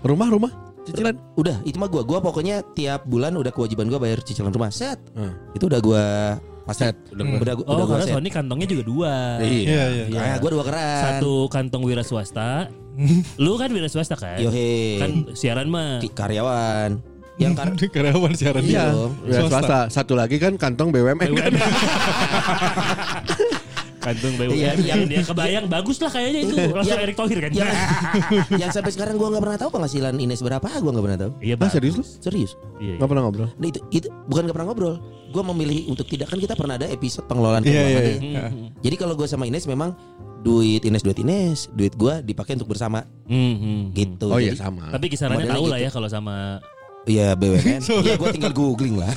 D: rumah rumah cicilan
E: Udah, itu mah gua. Gua pokoknya tiap bulan udah kewajiban gua bayar cicilan rumah. Set.
D: Hmm.
E: Itu udah gua pasti udah,
F: Hmm.
E: udah,
B: Oh,
E: udah gua
B: karena
E: set.
B: Sony kantongnya juga dua.
F: Iya iya.
E: Nah, gua dua keran.
B: Satu kantong wira swasta. Lu kan wira swasta kan?
E: Yohe.
B: Kan siaran mah.
E: Ki- Karyawan. Yang
F: Iya.
B: (laughs)
E: kar
F: Karyawan siaran
E: Iya.
F: dia.
D: Ya, swasta. Satu lagi kan kantong BUMN. (laughs) kan?
B: (laughs) Kantong BUMN.
E: Iya,
B: yang
E: yang-
B: dia kebayang bagus lah kayaknya itu. Langsung
E: Yang-
B: Erick Thohir kan.
E: yang, (laughs) yang sampai sekarang gua nggak pernah tahu penghasilan Ines berapa, gua nggak pernah tahu.
B: Iya,
D: Ah, serius lu?
E: Serius.
B: Iya.
D: Gak pernah ngobrol.
E: Nah, itu, itu bukan gak pernah ngobrol. Gue memilih untuk tidak kan kita pernah ada episode pengelolaan
F: Iya
E: keuangan
F: iya.
B: Hmm,
E: ya.
F: iya.
E: Jadi kalau gue sama Ines memang duit Ines duit Ines, duit gue dipakai untuk bersama
B: Hmm, hmm.
E: gitu.
D: Oh iya
E: Jadi,
D: sama.
B: Tapi kisarannya
E: Modelnya
B: tahu lah
E: gitu.
B: ya kalau sama
E: ya
F: (laughs)
E: BUMN. ya gue tinggal googling lah.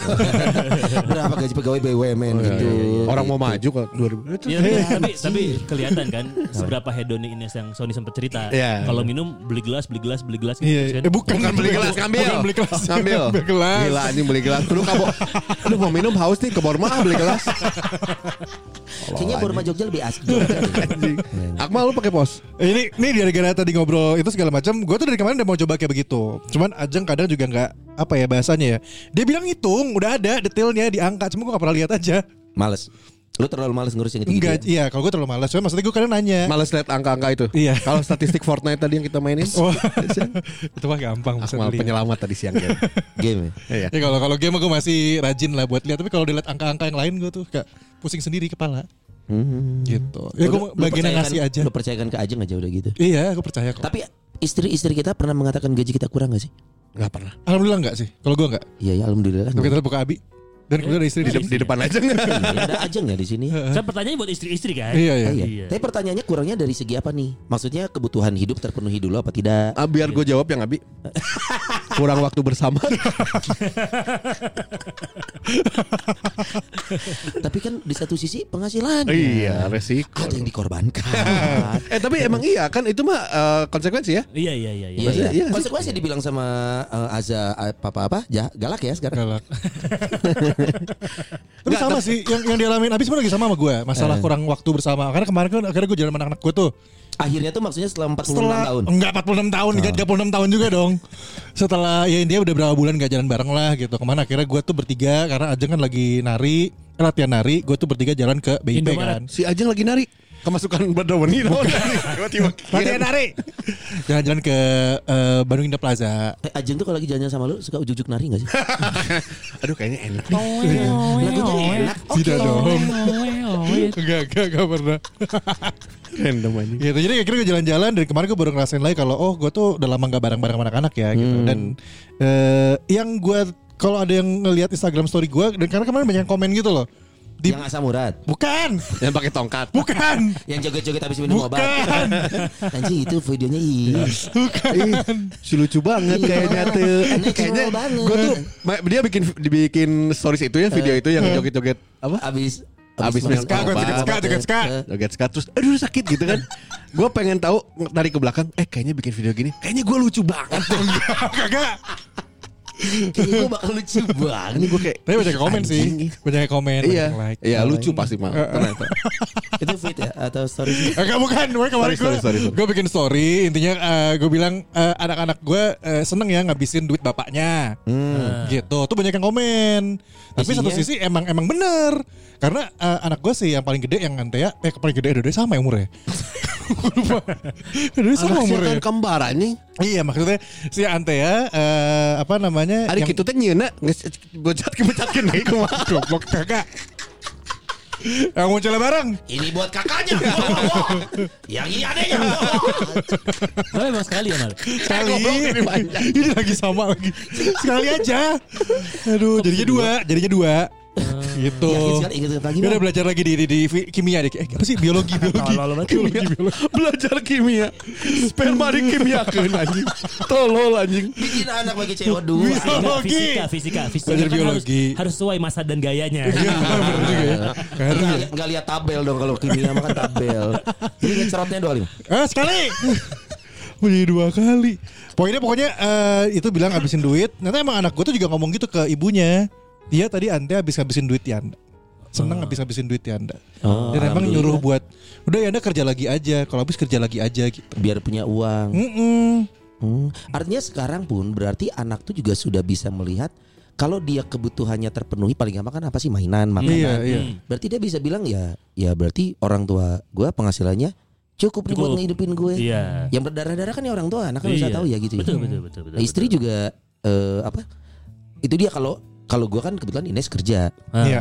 E: (laughs) Berapa gaji pegawai BUMN
F: Oh, Iya,
E: gitu.
D: Orang mau
E: Gitu.
D: maju kok 2000. Itu
B: Ya, tapi, tapi, tapi kelihatan kan seberapa hedonnya Ines yang Sony sempat cerita.
D: Iya.
B: Kalau minum beli gelas, beli gelas, beli gelas gitu,
F: Iya,
B: kan.
F: eh, bukan,
D: Bukan beli gelas ngambil.
F: Bukan beli gelas.
D: Ngambil.
F: Beli gelas.
D: Gila anjing beli gelas. Lu kabo. Lu mau minum haus nih ke Borma ah, beli (laughs) gelas.
F: Oh,
E: Kayaknya Borma Jogja lebih asik. Jogja.
F: (laughs)
D: Akmal lu pakai pos.
F: (laughs) Ini ini gara-gara tadi ngobrol itu segala macam. Gue tuh dari kemarin udah mau coba kayak begitu. Cuman Ajeng kadang juga nggak apa ya bahasanya ya. Dia bilang hitung, udah ada detailnya di angka. Cuma gue gak pernah lihat aja.
E: males. Lu terlalu males ngurusin gitu.
F: Enggak, iya kalau gue terlalu malas. Cuma maksudnya gue kadang nanya.
D: Males lihat angka-angka itu.
F: Iya.
D: Kalau statistik Fortnite tadi yang kita mainin.
F: Wah, (laughs) itu mah gampang bisa
D: Akmal
F: dilihat.
D: penyelamat tadi siang (laughs) Ken.
E: Game.
D: Iya.
F: Ya kalau kalau game gue masih rajin lah buat lihat, tapi kalau dilihat angka-angka yang lain gue tuh kayak pusing sendiri kepala. Gitu. Ya gue bagian yang ngasih aja.
E: Lu Hmm. percayakan ke Ajeng aja udah gitu.
F: Iya, gue percaya kok.
E: Tapi istri-istri kita pernah mengatakan gaji kita kurang gak sih?
D: Enggak pernah.
F: Alhamdulillah enggak sih. Kalau gue enggak.
E: Iya ya alhamdulillah.
F: Tapi kita buka abi dan kemudian ada istri di
D: Di,
F: depan.
D: di depan aja enggak. (laughs)
E: Ada Ajeng ya di sini.
B: Kan pertanyaannya buat istri-istri kan.
F: Iya, iya.
E: Ah,
B: Iya.
E: Iya. Tapi pertanyaannya kurangnya dari segi apa nih? Maksudnya kebutuhan hidup terpenuhi dulu apa
D: (laughs)
E: tidak?
D: Ah, biar gue jawab yang Abi. Kurang waktu bersama.
E: Tapi kan di satu sisi penghasilan.
D: iya, resiko.
E: Ada yang dikorbankan.
D: (laughs) Eh tapi emang iya kan itu mah eh, konsekuensi ya.
B: Iya, iya, iya, iya.
E: Iya,
D: Maksudnya, (laughs) iya
E: iya.
D: nggak sih?
E: Konsekuensi dibilang sama eh, Azza apa apa ja, galak ya sekarang. (laughs)
F: Galak. Tapi sama sih yang yang dialamin abis pun lagi sama sama gue masalah
E: Eh.
F: kurang waktu bersama karena kemarin kan akhirnya gue jalan sama anak-anak gue tuh
E: Akhirnya tuh maksudnya setelah Ah. 46
F: setelah
E: tahun.
F: enggak 46 tahun enggak 36 tahun juga dong setelah ya dia udah berapa bulan gak jalan bareng lah gitu kemana akhirnya gue tuh bertiga karena Ajeng kan lagi nari eh, latihan nari gue tuh bertiga jalan ke BIP kan (laughs)
B: Indomaret.
D: Si Ajeng lagi nari kemasukan Brother Nih Tiba-tiba.
F: latihan nari jalan-jalan ke eh, Bandung Indah Plaza
E: Eh, Ajeng tuh kalau lagi jalan sama lu suka ujuk-ujuk nari gak sih?
D: Aduh kayaknya enak nih.
E: Lagunya enak. Oke.
F: tidak dong (laughs) enggak enggak enggak pernah (laughs)
D: Random anjing.
F: gitu jadi akhirnya gue jalan-jalan dari kemarin gue baru ngerasain lagi kalau oh gue tuh udah lama nggak bareng-bareng sama anak-anak ya gitu dan
D: Hmm.
F: eh, yang gue kalau ada yang ngelihat Instagram story gue dan karena kemarin banyak yang komen gitu loh di,
E: Yang asam urat.
F: bukan
D: Yang pakai tongkat.
F: bukan
D: (laughs)
E: Yang joget-joget habis minum obat. Anjing itu videonya iya.
D: Ih, si lucu banget kayaknya tuh. Eh, Kayaknya
E: banget.
D: gue tuh ma- dia bikin dibikin stories itu ya video itu yang joget-joget apa?
E: Abis
D: Abis minum ska, gua joget
F: ska, joget ska.
E: Eh,
D: Joget skat terus aduh sakit gitu kan. Gue pengen tahu tarik ke belakang. Eh kayaknya bikin video gini. Kayaknya gue lucu (laughs) banget.
F: kagak
E: Kayaknya gue bakal lucu banget.
D: Ini gue kayak
F: tapi banyak yang komen sih
D: anjing.
F: banyak yang komen banyak
D: Iya,
F: yang like
D: iya lucu pasti mah. Tenang, tenang.
E: itu fit ya atau story sih?
F: Enggak bukan, gue kan, kemarin
D: Sorry, sorry, sorry,
F: gue
D: sorry.
F: gue bikin story intinya gue bilang eh, anak-anak gue eh, seneng ya ngabisin duit bapaknya,
D: Hmm.
F: gitu. Tuh banyak yang komen. Tapi satu
E: Isinya?
F: sisi emang emang bener karena eh, anak gue sih yang paling gede yang Antea, eh paling gede udah sama ya (laughs) umurnya. Gua lupa. Dua-duanya sama
D: Anak
F: umurnya.
D: setan kembar anjing.
F: Iya maksudnya si Antea eh, apa namanya?
D: Hari
F: yang-
D: kita teh nyeuna geus bocat ke bocat ke deui kumaha.
F: goblok kakak. yang muncul bareng.
E: Ini buat kakaknya. Yang ini adanya.
B: Tapi emang sekali ya, Mal.
D: Eh,
F: Sekali (laughs) Ini lagi sama lagi Sekali aja Aduh jadinya dua Jadinya dua
D: Eh, ya,
F: Gitu
E: Yakin sekali ingat lagi.
F: Dia
E: Bang.
F: udah belajar lagi di, di, di fi- kimia deh. Eh, apa sih biologi
D: (laughs)
F: biologi?
B: Tolol banget.
F: biologi, biologi.
D: Belajar kimia. Sperma di kimia keun
F: (laughs)
D: anjing. Tolol anjing.
E: Bikin anak bagi CO2.
F: Bisa. Biologi.
B: Fisika, fisika, fisika.
F: Belajar
B: Kan harus-
F: biologi.
B: Harus sesuai masa dan gayanya.
E: Iya.
F: Bener juga
D: (laughs)
F: ya. Ngaruh ya.
E: Enggak lihat tabel dong kalau kimia makan tabel. Jadi ngecerotnya 25.
F: Eh sekali. Menjadi dua kali. Poinnya pokoknya eh, itu bilang habisin duit. Nanti emang anak gue tuh juga ngomong gitu ke ibunya. Dia tadi ante habis habisin duit ya anda. Seneng habis habisin duit ya anda.
E: Oh,
F: Dan emang
E: alhamdulillah.
F: nyuruh buat udah ya anda kerja lagi aja. Kalau habis kerja lagi aja gitu.
E: biar punya uang.
F: Mm-mm.
E: Hmm. Artinya sekarang pun berarti anak tuh juga sudah bisa melihat kalau dia kebutuhannya terpenuhi paling gampang kan apa sih mainan, makanan.
F: Iya iya.
E: Berarti dia bisa bilang ya, ya berarti orang tua gue penghasilannya cukup, nih
B: Cukup.
E: buat ngehidupin gue.
B: Iya.
E: Yang berdarah-darah kan ya orang tua, anak kan bisa
B: Iya.
E: tahu ya gitu. ya.
B: Betul, betul, betul, betul.
E: Nah, istri juga eh, apa? Itu dia kalau kalau gue kan kebetulan Ines kerja.
B: Ah.
F: Iya.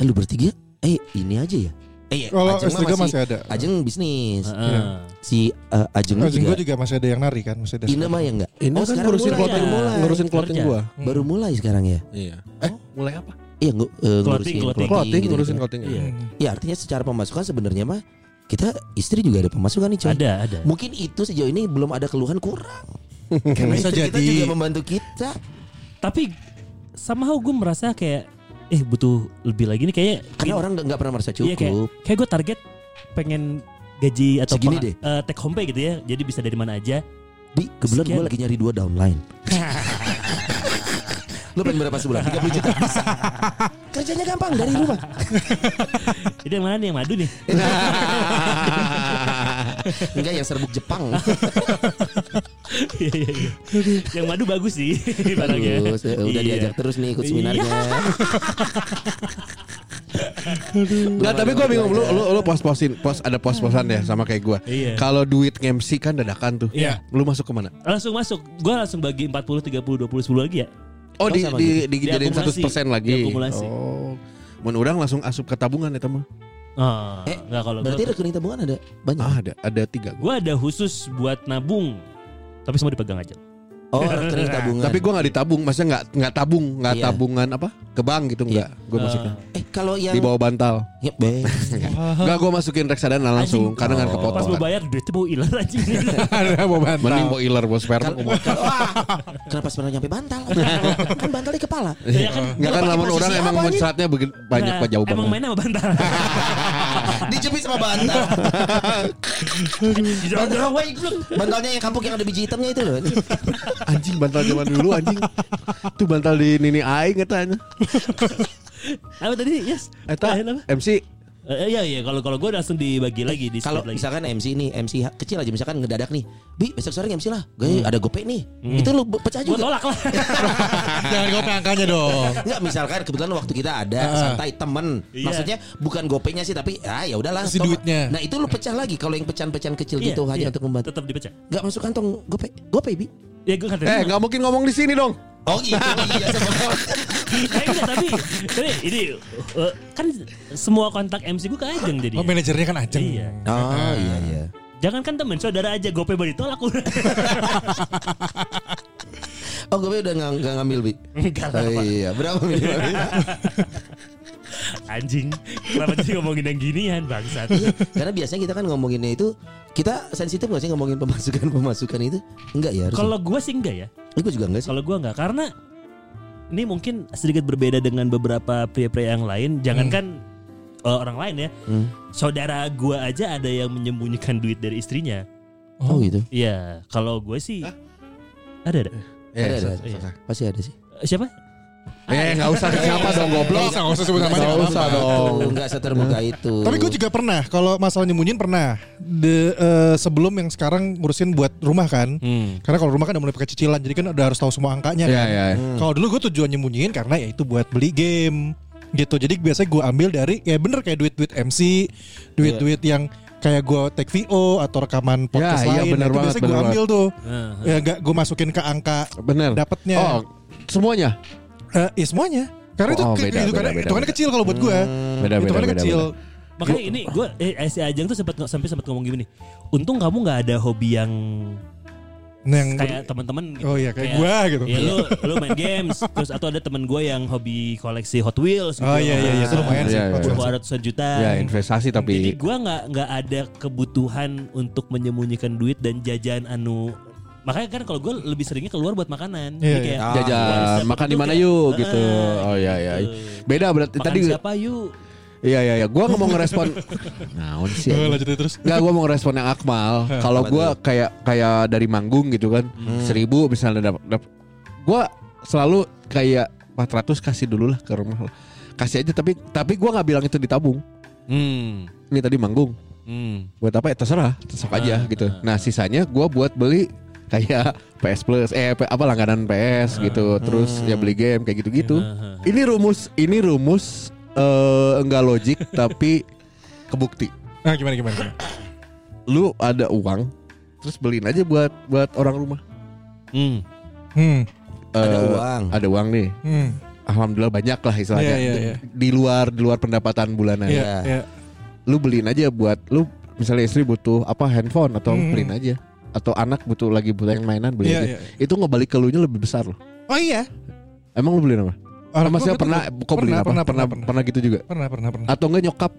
E: Eh, lu bertiga? Eh ini aja ya. Eh,
F: Kalau
E: Ajeng mah
F: istri gue masih ada.
E: Ajeng bisnis.
F: Iya.
B: Heeh.
E: Si eh, Ajeng
F: Anjing
E: juga.
F: gue juga masih ada yang nari kan, masih ada.
E: Ine mah ya enggak.
D: Ini
E: Oh,
D: kan
E: sekarang
D: ngurusin
E: mulai,
D: clothing,
E: mulai.
D: ngurusin clothing
B: Kerja.
D: gua.
E: Baru mulai sekarang ya.
D: Iya. Eh, mulai apa? gitu.
E: Iya, ngu, eh,
B: Clothing,
E: ngurusin
B: clothing.
D: Clothing,
E: gitu-gitu.
D: ngurusin clothing.
B: Iya.
D: (laughs)
E: Ya artinya secara pemasukan sebenarnya mah kita istri juga ada pemasukan nih coy.
B: Ada, ada.
E: (laughs) Mungkin itu sejauh ini belum ada keluhan kurang. Karena
F: Bisa
E: istri kita
F: jadi.
E: juga membantu kita.
B: tapi somehow gue merasa kayak eh butuh lebih lagi nih kayaknya
E: Karena orang nggak- nggak pernah merasa
B: Iya, kayak
E: cukup.
B: kayak gue target pengen gaji atau
E: Segini
B: peng-
E: deh.
B: eh, take home pay gitu ya jadi bisa dari mana aja
E: Di kebetulan gue
B: Sekian.
E: lagi nyari dua (laughs) downline. Lu pengen berapa sebulan? 30 juta bisa. Kerjanya gampang dari rumah.
B: jadi yang mana nih yang madu
E: (laughs)
B: nih
E: Enggak yang serbuk (laughs) Jepang.
B: Iya, iya, iya. yang madu bagus
E: (laughs)
B: sih (laughs) barangnya.
E: Bagus. eh, Udah
B: Iya.
E: diajak terus nih ikut ya. seminarnya.
D: Nggak, tapi gue bingung lu lu lu pos-posin, pos ada pos-posan ya sama kayak gue.
B: Iya.
D: Kalau duit MC kan dadakan tuh.
B: Iya.
D: Lu masuk ke mana?
B: langsung masuk gua langsung bagi 40 30 20 10 lagi ya
D: Oh,
E: Oh,
D: di,
E: sama
D: di, dijadiin
B: gitu? Diakumulasi.
D: 100% lagi.
B: Diakumulasi.
D: Oh. Mun orang langsung asup ke tabungan ya teman.
B: ah
E: Eh,
B: nggak kalau
E: Berarti
B: gua,
E: rekening tabungan ada banyak.
D: Ah, ada ada tiga.
B: gua ada khusus buat nabung tapi semua dipegang aja
E: Oh, rekening tabungan.
D: Tapi gue nggak ditabung, maksudnya nggak nggak tabung, nggak
E: Iya.
D: tabungan apa? Ke bank gitu nggak?
B: Iya.
D: Gue masukin
B: Ah.
E: eh kalau yang
D: di bawah bantal.
E: Ya, be.
D: Nggak, gue masukin reksadana langsung
B: Anjing.
D: karena nggak
B: Eh, pas
D: kepotong. kan?
B: mau bayar duitnya mau hilang
D: (laughs)
B: anjing
F: (laughs)
B: Iya kan?
F: Ada mau bantal.
D: Mending bawa iler bawa sperma.
E: Kal- Kal- Wah, kenapa sebenarnya nyampe (laughs) bantal? kan bantal di kepala.
B: ya kan
D: Nggak kan
E: Lu pakai
D: lamun orang
E: posisi
D: emang
E: apa, anjing?
D: mencratnya begin- banyak
B: Nah,
D: pak jauh
B: emang
D: banget.
B: main sama
D: (laughs)
B: bantal
E: (laughs) Dijepit sama bantal. (laughs)
B: jorok wae goblok.
E: Bantalnya yang kampung yang ada biji hitamnya itu loh.
D: Anjing bantal zaman dulu anjing. Itu bantal di Nini Aing katanya.
B: apa tadi yes
D: Eta
B: Lain apa?
D: MC
B: Eh, iya iya kalau kalau gue langsung dibagi lagi di
E: Kalau
B: split lagi.
E: misalkan MC nih, MC ha- kecil aja misalkan ngedadak nih. Bi, besok sore MC lah. Gue
F: Hmm.
E: ada gope nih. Itu lu be- pecah
B: gue
E: juga.
B: tolak lah
F: Jangan kau angkanya dong.
E: Enggak misalkan kebetulan waktu kita ada
F: Ah.
E: santai temen
B: Iya.
E: Maksudnya bukan gopenya sih tapi ah ya udahlah
F: Si
E: Tolong-
F: duitnya.
E: Nah itu lu pecah lagi kalau yang pecahan-pecahan kecil
B: Iya,
E: gitu
B: iya.
E: hanya untuk membantu
B: tetap dipecah
E: Enggak masuk kantong gope Gope Bi
B: ya gue nggak
D: Eh
B: terima.
D: nggak mungkin ngomong di sini dong.
E: Oh gitu iya sama
B: Eh, enggak, tapi tapi ini eh, kan semua kontak MC gue ke Ajeng jadi.
F: Oh manajernya kan ajeng.
B: Iya.
E: (laughs) Oh iya iya
B: Jangan kan temen saudara aja gope baru ditolak (laughs) udah.
E: Oh gope udah nggak nggak ngambil Bi
B: Enggak lah,
E: Oh,
B: Pak.
E: iya berapa minimal
B: Anjing. Kenapa sih ngomongin yang ginian bangsat?
E: Iya, Karena biasanya kita kan ngomonginnya itu Kita sensitif gak sih ngomongin pemasukan-pemasukan itu Enggak ya harusnya
B: Kalau gue sih enggak ya.
E: Eh, Gue juga enggak sih
B: Kalau gue enggak karena ini mungkin sedikit berbeda dengan beberapa pria-pria yang lain. Jangankan eh, orang lain ya.
E: Hmm.
B: Saudara gue aja ada yang menyembunyikan duit dari istrinya.
E: Oh gitu
B: Iya, kalau gue sih ada ada.
F: Iya,
D: Eh
E: Ada ada
D: so-
E: ada. Pasti ada sih
B: Eh, Siapa?
D: eh, nggak usah siapa dong
F: Gak
D: goblok.
F: usah, gak usah sebut namanya.
D: Nggak
F: nggak
D: usah
F: apa-apa.
D: dong.
E: Oh enggak seterbuka
D: Gitu.
E: itu
F: Tapi gue juga pernah kalau masalah nyembunyiin pernah. De, eh, sebelum yang sekarang ngurusin buat rumah kan.
B: Hmm.
F: Karena kalau rumah kan udah mulai pakai cicilan, jadi kan udah harus tahu semua angkanya
D: Ya
F: kan.
D: ya.
F: Kalau dulu gue tujuan nyembunyiin karena ya itu buat beli game gitu. Jadi biasanya gue ambil dari ya bener kayak duit-duit MC, duit-duit yang kayak gue take VO atau rekaman podcast
D: Ya, iya,
F: lain. Nah,
D: bener
F: itu
D: banget,
F: biasanya gue
D: bener
F: ambil tuh.
B: Heeh.
F: Ya gak gue masukin ke angka
D: Bener.
F: dapatnya.
D: Oh semuanya.
F: Eh, ya semuanya. Karena itu
D: Oh,
F: ke-
D: beda,
F: hitungannya-
D: beda, beda,
F: hitungannya
D: beda.
F: kecil kalau buat gue.
D: Beda beda
F: hitungannya
D: beda.
F: kecil.
D: beda.
B: Makanya ini gue eh, si Ajeng tuh sempat sampai sempat ngomong gini. Untung kamu nggak ada hobi yang
F: Nah, yang
B: kayak teman-teman gitu.
F: Oh iya kayak, gua gitu.
B: Ya lu lu main games terus atau ada teman gue yang hobi koleksi Hot Wheels gitu. Nah,
F: Oh iya iya iya itu lumayan sih.
D: Iya, iya.
F: Betul, betul.
B: Beberapa ratusan juta.
D: Ya investasi
B: Jadi
D: tapi
B: gue nggak nggak ada kebutuhan untuk menyembunyikan duit dan jajan anu. Makanya kan kalau gue lebih seringnya keluar buat makanan. Jadi
F: Iya,
B: ah,
F: iya.
B: kayak,
D: jajan makan di mana yuk gitu. Oh iya iya. Beda berarti
B: ya? Ah, Makan
D: tadi
B: siapa yuk?
D: Iya iya iya. Gua nggak mau
B: (laughs)
D: ngerespon. Naon
F: Eh,
D: sih. anjing.
F: lanjutin terus.
D: Nggak gue mau ngerespon yang (laughs) Akmal. Kalau gue kayak kayak dari manggung gitu kan, seribu misalnya dapat, dap, gue selalu kayak 400 kasih dulu lah ke rumah lah. Kasih aja tapi tapi gue nggak bilang itu ditabung.
B: Hmm.
D: Ini tadi manggung.
B: Hmm.
D: Buat apa? Ya terserah, sok aja gitu. Nah sisanya gue buat beli kayak (laughs) PS Plus, eh P- apa langganan PS gitu. Terus ya beli game kayak gitu-gitu. Ini rumus, ini rumus eh, enggak (laughs) logik tapi kebukti
F: Nah, gimana gimana. gimana?
D: lu ada uang terus beliin aja buat buat orang rumah
B: Hmm.
F: Hmm.
E: Ada
D: Eh,
E: uang
D: ada uang nih
F: Hmm.
D: alhamdulillah banyak lah istilahnya
F: Iya, iya,
D: Di-
F: iya.
D: di luar di luar pendapatan bulanan
F: Iya,
E: Ya.
F: iya.
D: lu beliin aja buat lu misalnya istri butuh apa handphone atau
F: Hmm.
D: beliin aja atau anak butuh lagi butuh yang mainan beliin
F: Iya,
D: aja
F: iya.
D: itu ngebalik ke lu nya lebih besar loh
F: Oh iya.
D: emang lu beliin apa
F: Orang gua-
D: Maksudnya
F: gua-
D: pernah
F: gua-
D: kok beliin
F: pernah,
D: apa
F: pernah,
D: pernah
F: pernah,
D: pernah gitu Ah. juga
F: pernah pernah pernah.
D: atau enggak nyokap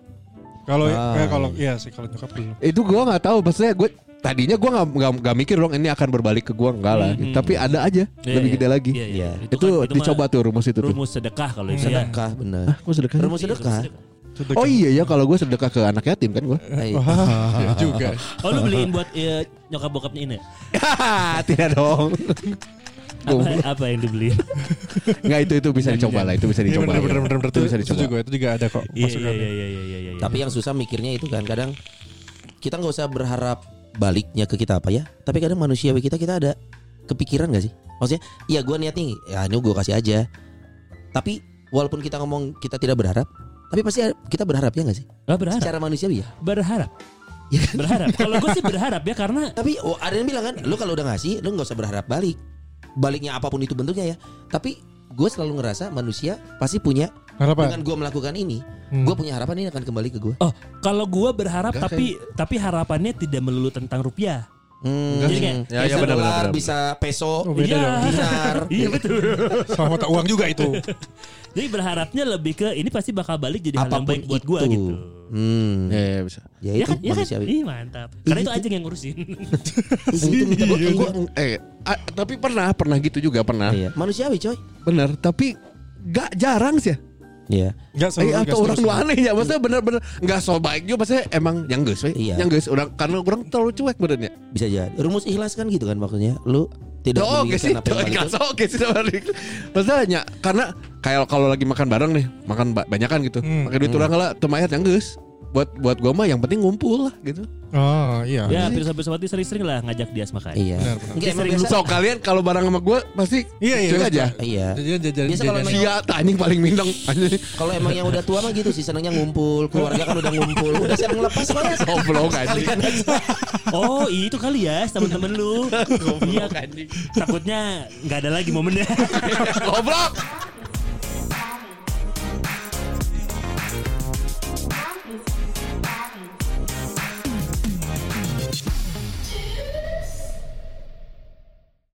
F: Kalau eh, kalau iya sih kalau nyokap belum.
D: itu gua nggak tahu maksudnya gue tadinya gua nggak nggak nggak mikir dong ini akan berbalik ke gua enggak lah
B: Hmm.
D: tapi ada aja
B: Iya,
D: lebih
B: iya.
D: gede lagi
B: Iya, iya.
D: itu,
B: kan- mah
D: dicoba tuh rumus itu tuh
B: rumus sedekah kalau itu Iya, ya.
E: Sedekah bener.
D: ah gua sedekah
E: Rumus sedekah.
D: oh iya ya kalau gua sedekah ke anak yatim kan gua (laughs)
E: Hai.
F: Iya juga.
B: Oh lu beliin buat eh, nyokap bokapnya ini. ya?
D: tidak dong
B: Apa, apa yang dibeliin?
D: nggak itu itu bisa dicoba lah itu bisa
F: Iya
D: dicoba
F: benar
D: ya.
F: benar benar benar
D: itu bisa
F: Itu juga
D: dicoba
F: itu juga ada kok
B: Iya iya
F: masukannya.
B: iya iya iya iya. iya.
E: Tapi yang susah mikirnya itu kan kadang kita nggak usah berharap baliknya ke kita apa ya. Tapi kadang manusia kita kita ada kepikiran gak sih? Maksudnya, iya gue niat nih, ya ini gue kasih aja. Tapi walaupun kita ngomong kita tidak berharap, tapi pasti kita berharap ya gak sih?
B: Nggak berharap.
E: Secara manusiawi ya.
B: berharap. berharap. Kalau gue sih berharap ya karena
E: Tapi oh, ada yang bilang kan, lu kalau udah ngasih, lu nggak usah berharap balik. Baliknya apapun itu bentuknya ya. Tapi gue selalu ngerasa manusia pasti punya
F: Harapan.
E: dengan gue melakukan ini,
F: Hmm.
E: gue punya harapan ini akan kembali ke gue.
B: oh kalau gue berharap tapi tapi harapannya tidak melulu tentang rupiah.
E: Hmm.
B: Jadi kayak,
E: Ya, bisa
D: benar,
E: dolar,
D: benar, benar.
E: bisa peso,
F: Oh, beda
B: Iya.
F: dong.
E: dinar.
B: Iya betul.
F: Sama mata uang juga itu.
B: Jadi berharapnya lebih ke ini pasti bakal balik jadi hal yang
E: Apapun
B: baik buat
E: itu.
B: gue gitu.
E: Hmm.
D: Iya, iya, bisa
E: Ya,
B: Ya
E: itu Iya.
B: kan, ya kan?
E: manusiawi.
B: Ih mantap. Karena itu aja yang
E: (laughs)
B: ngurusin.
E: Itu minta
D: Gua-
E: gua-
D: gua- eh ah, tapi pernah pernah gitu juga pernah
E: Iya. Manusiawi coy.
D: benar tapi gak jarang sih ya.
E: Iya.
F: Enggak
D: Eh,
F: selalu nggak
D: atau orang
F: seterusnya.
D: lu aneh ya maksudnya bener-bener nggak so baik juga maksudnya emang yang geus we
E: Iya.
D: yang geus orang karena orang terlalu cuek badannya
E: Bisa jadi. Rumus ikhlas kan gitu kan maksudnya. Lu tidak
D: Oh, oke sih,
E: memikirkan apa yang balik.
D: (laughs) Nggak, so oke sih sama Rick. Maksudnya hanya karena kayak kalau lagi makan bareng nih, makan ba- banyakan gitu.
F: Hmm.
D: Pakai duit orang lah, temayar yang geus. Buat buat gua mah yang penting ngumpul lah gitu.
F: Oh iya.
B: ya pirsa sobat sering-sering lah ngajak dia makan.
E: Ah. Iya.
F: Benar, benar.
E: Enggak, emang
B: Sering
E: biasa.
D: So kalian kalau bareng sama gua pasti
F: Iya iya.
D: cuek aja.
E: Iya.
F: Jajan jajan.
E: Biasa kalau
F: jajan.
E: main-
D: Iya, anjing paling mindeng anjing.
E: Kalau emang yang udah tua mah gitu sih senangnya ngumpul, keluarga kan udah ngumpul, udah seneng lepas banget.
D: Goblok anjing.
B: Oh itu kali ya
E: (laughs)
B: kan? teman-teman lu. Iya. Takutnya nggak ada lagi momennya.
D: (laughs) Goblok.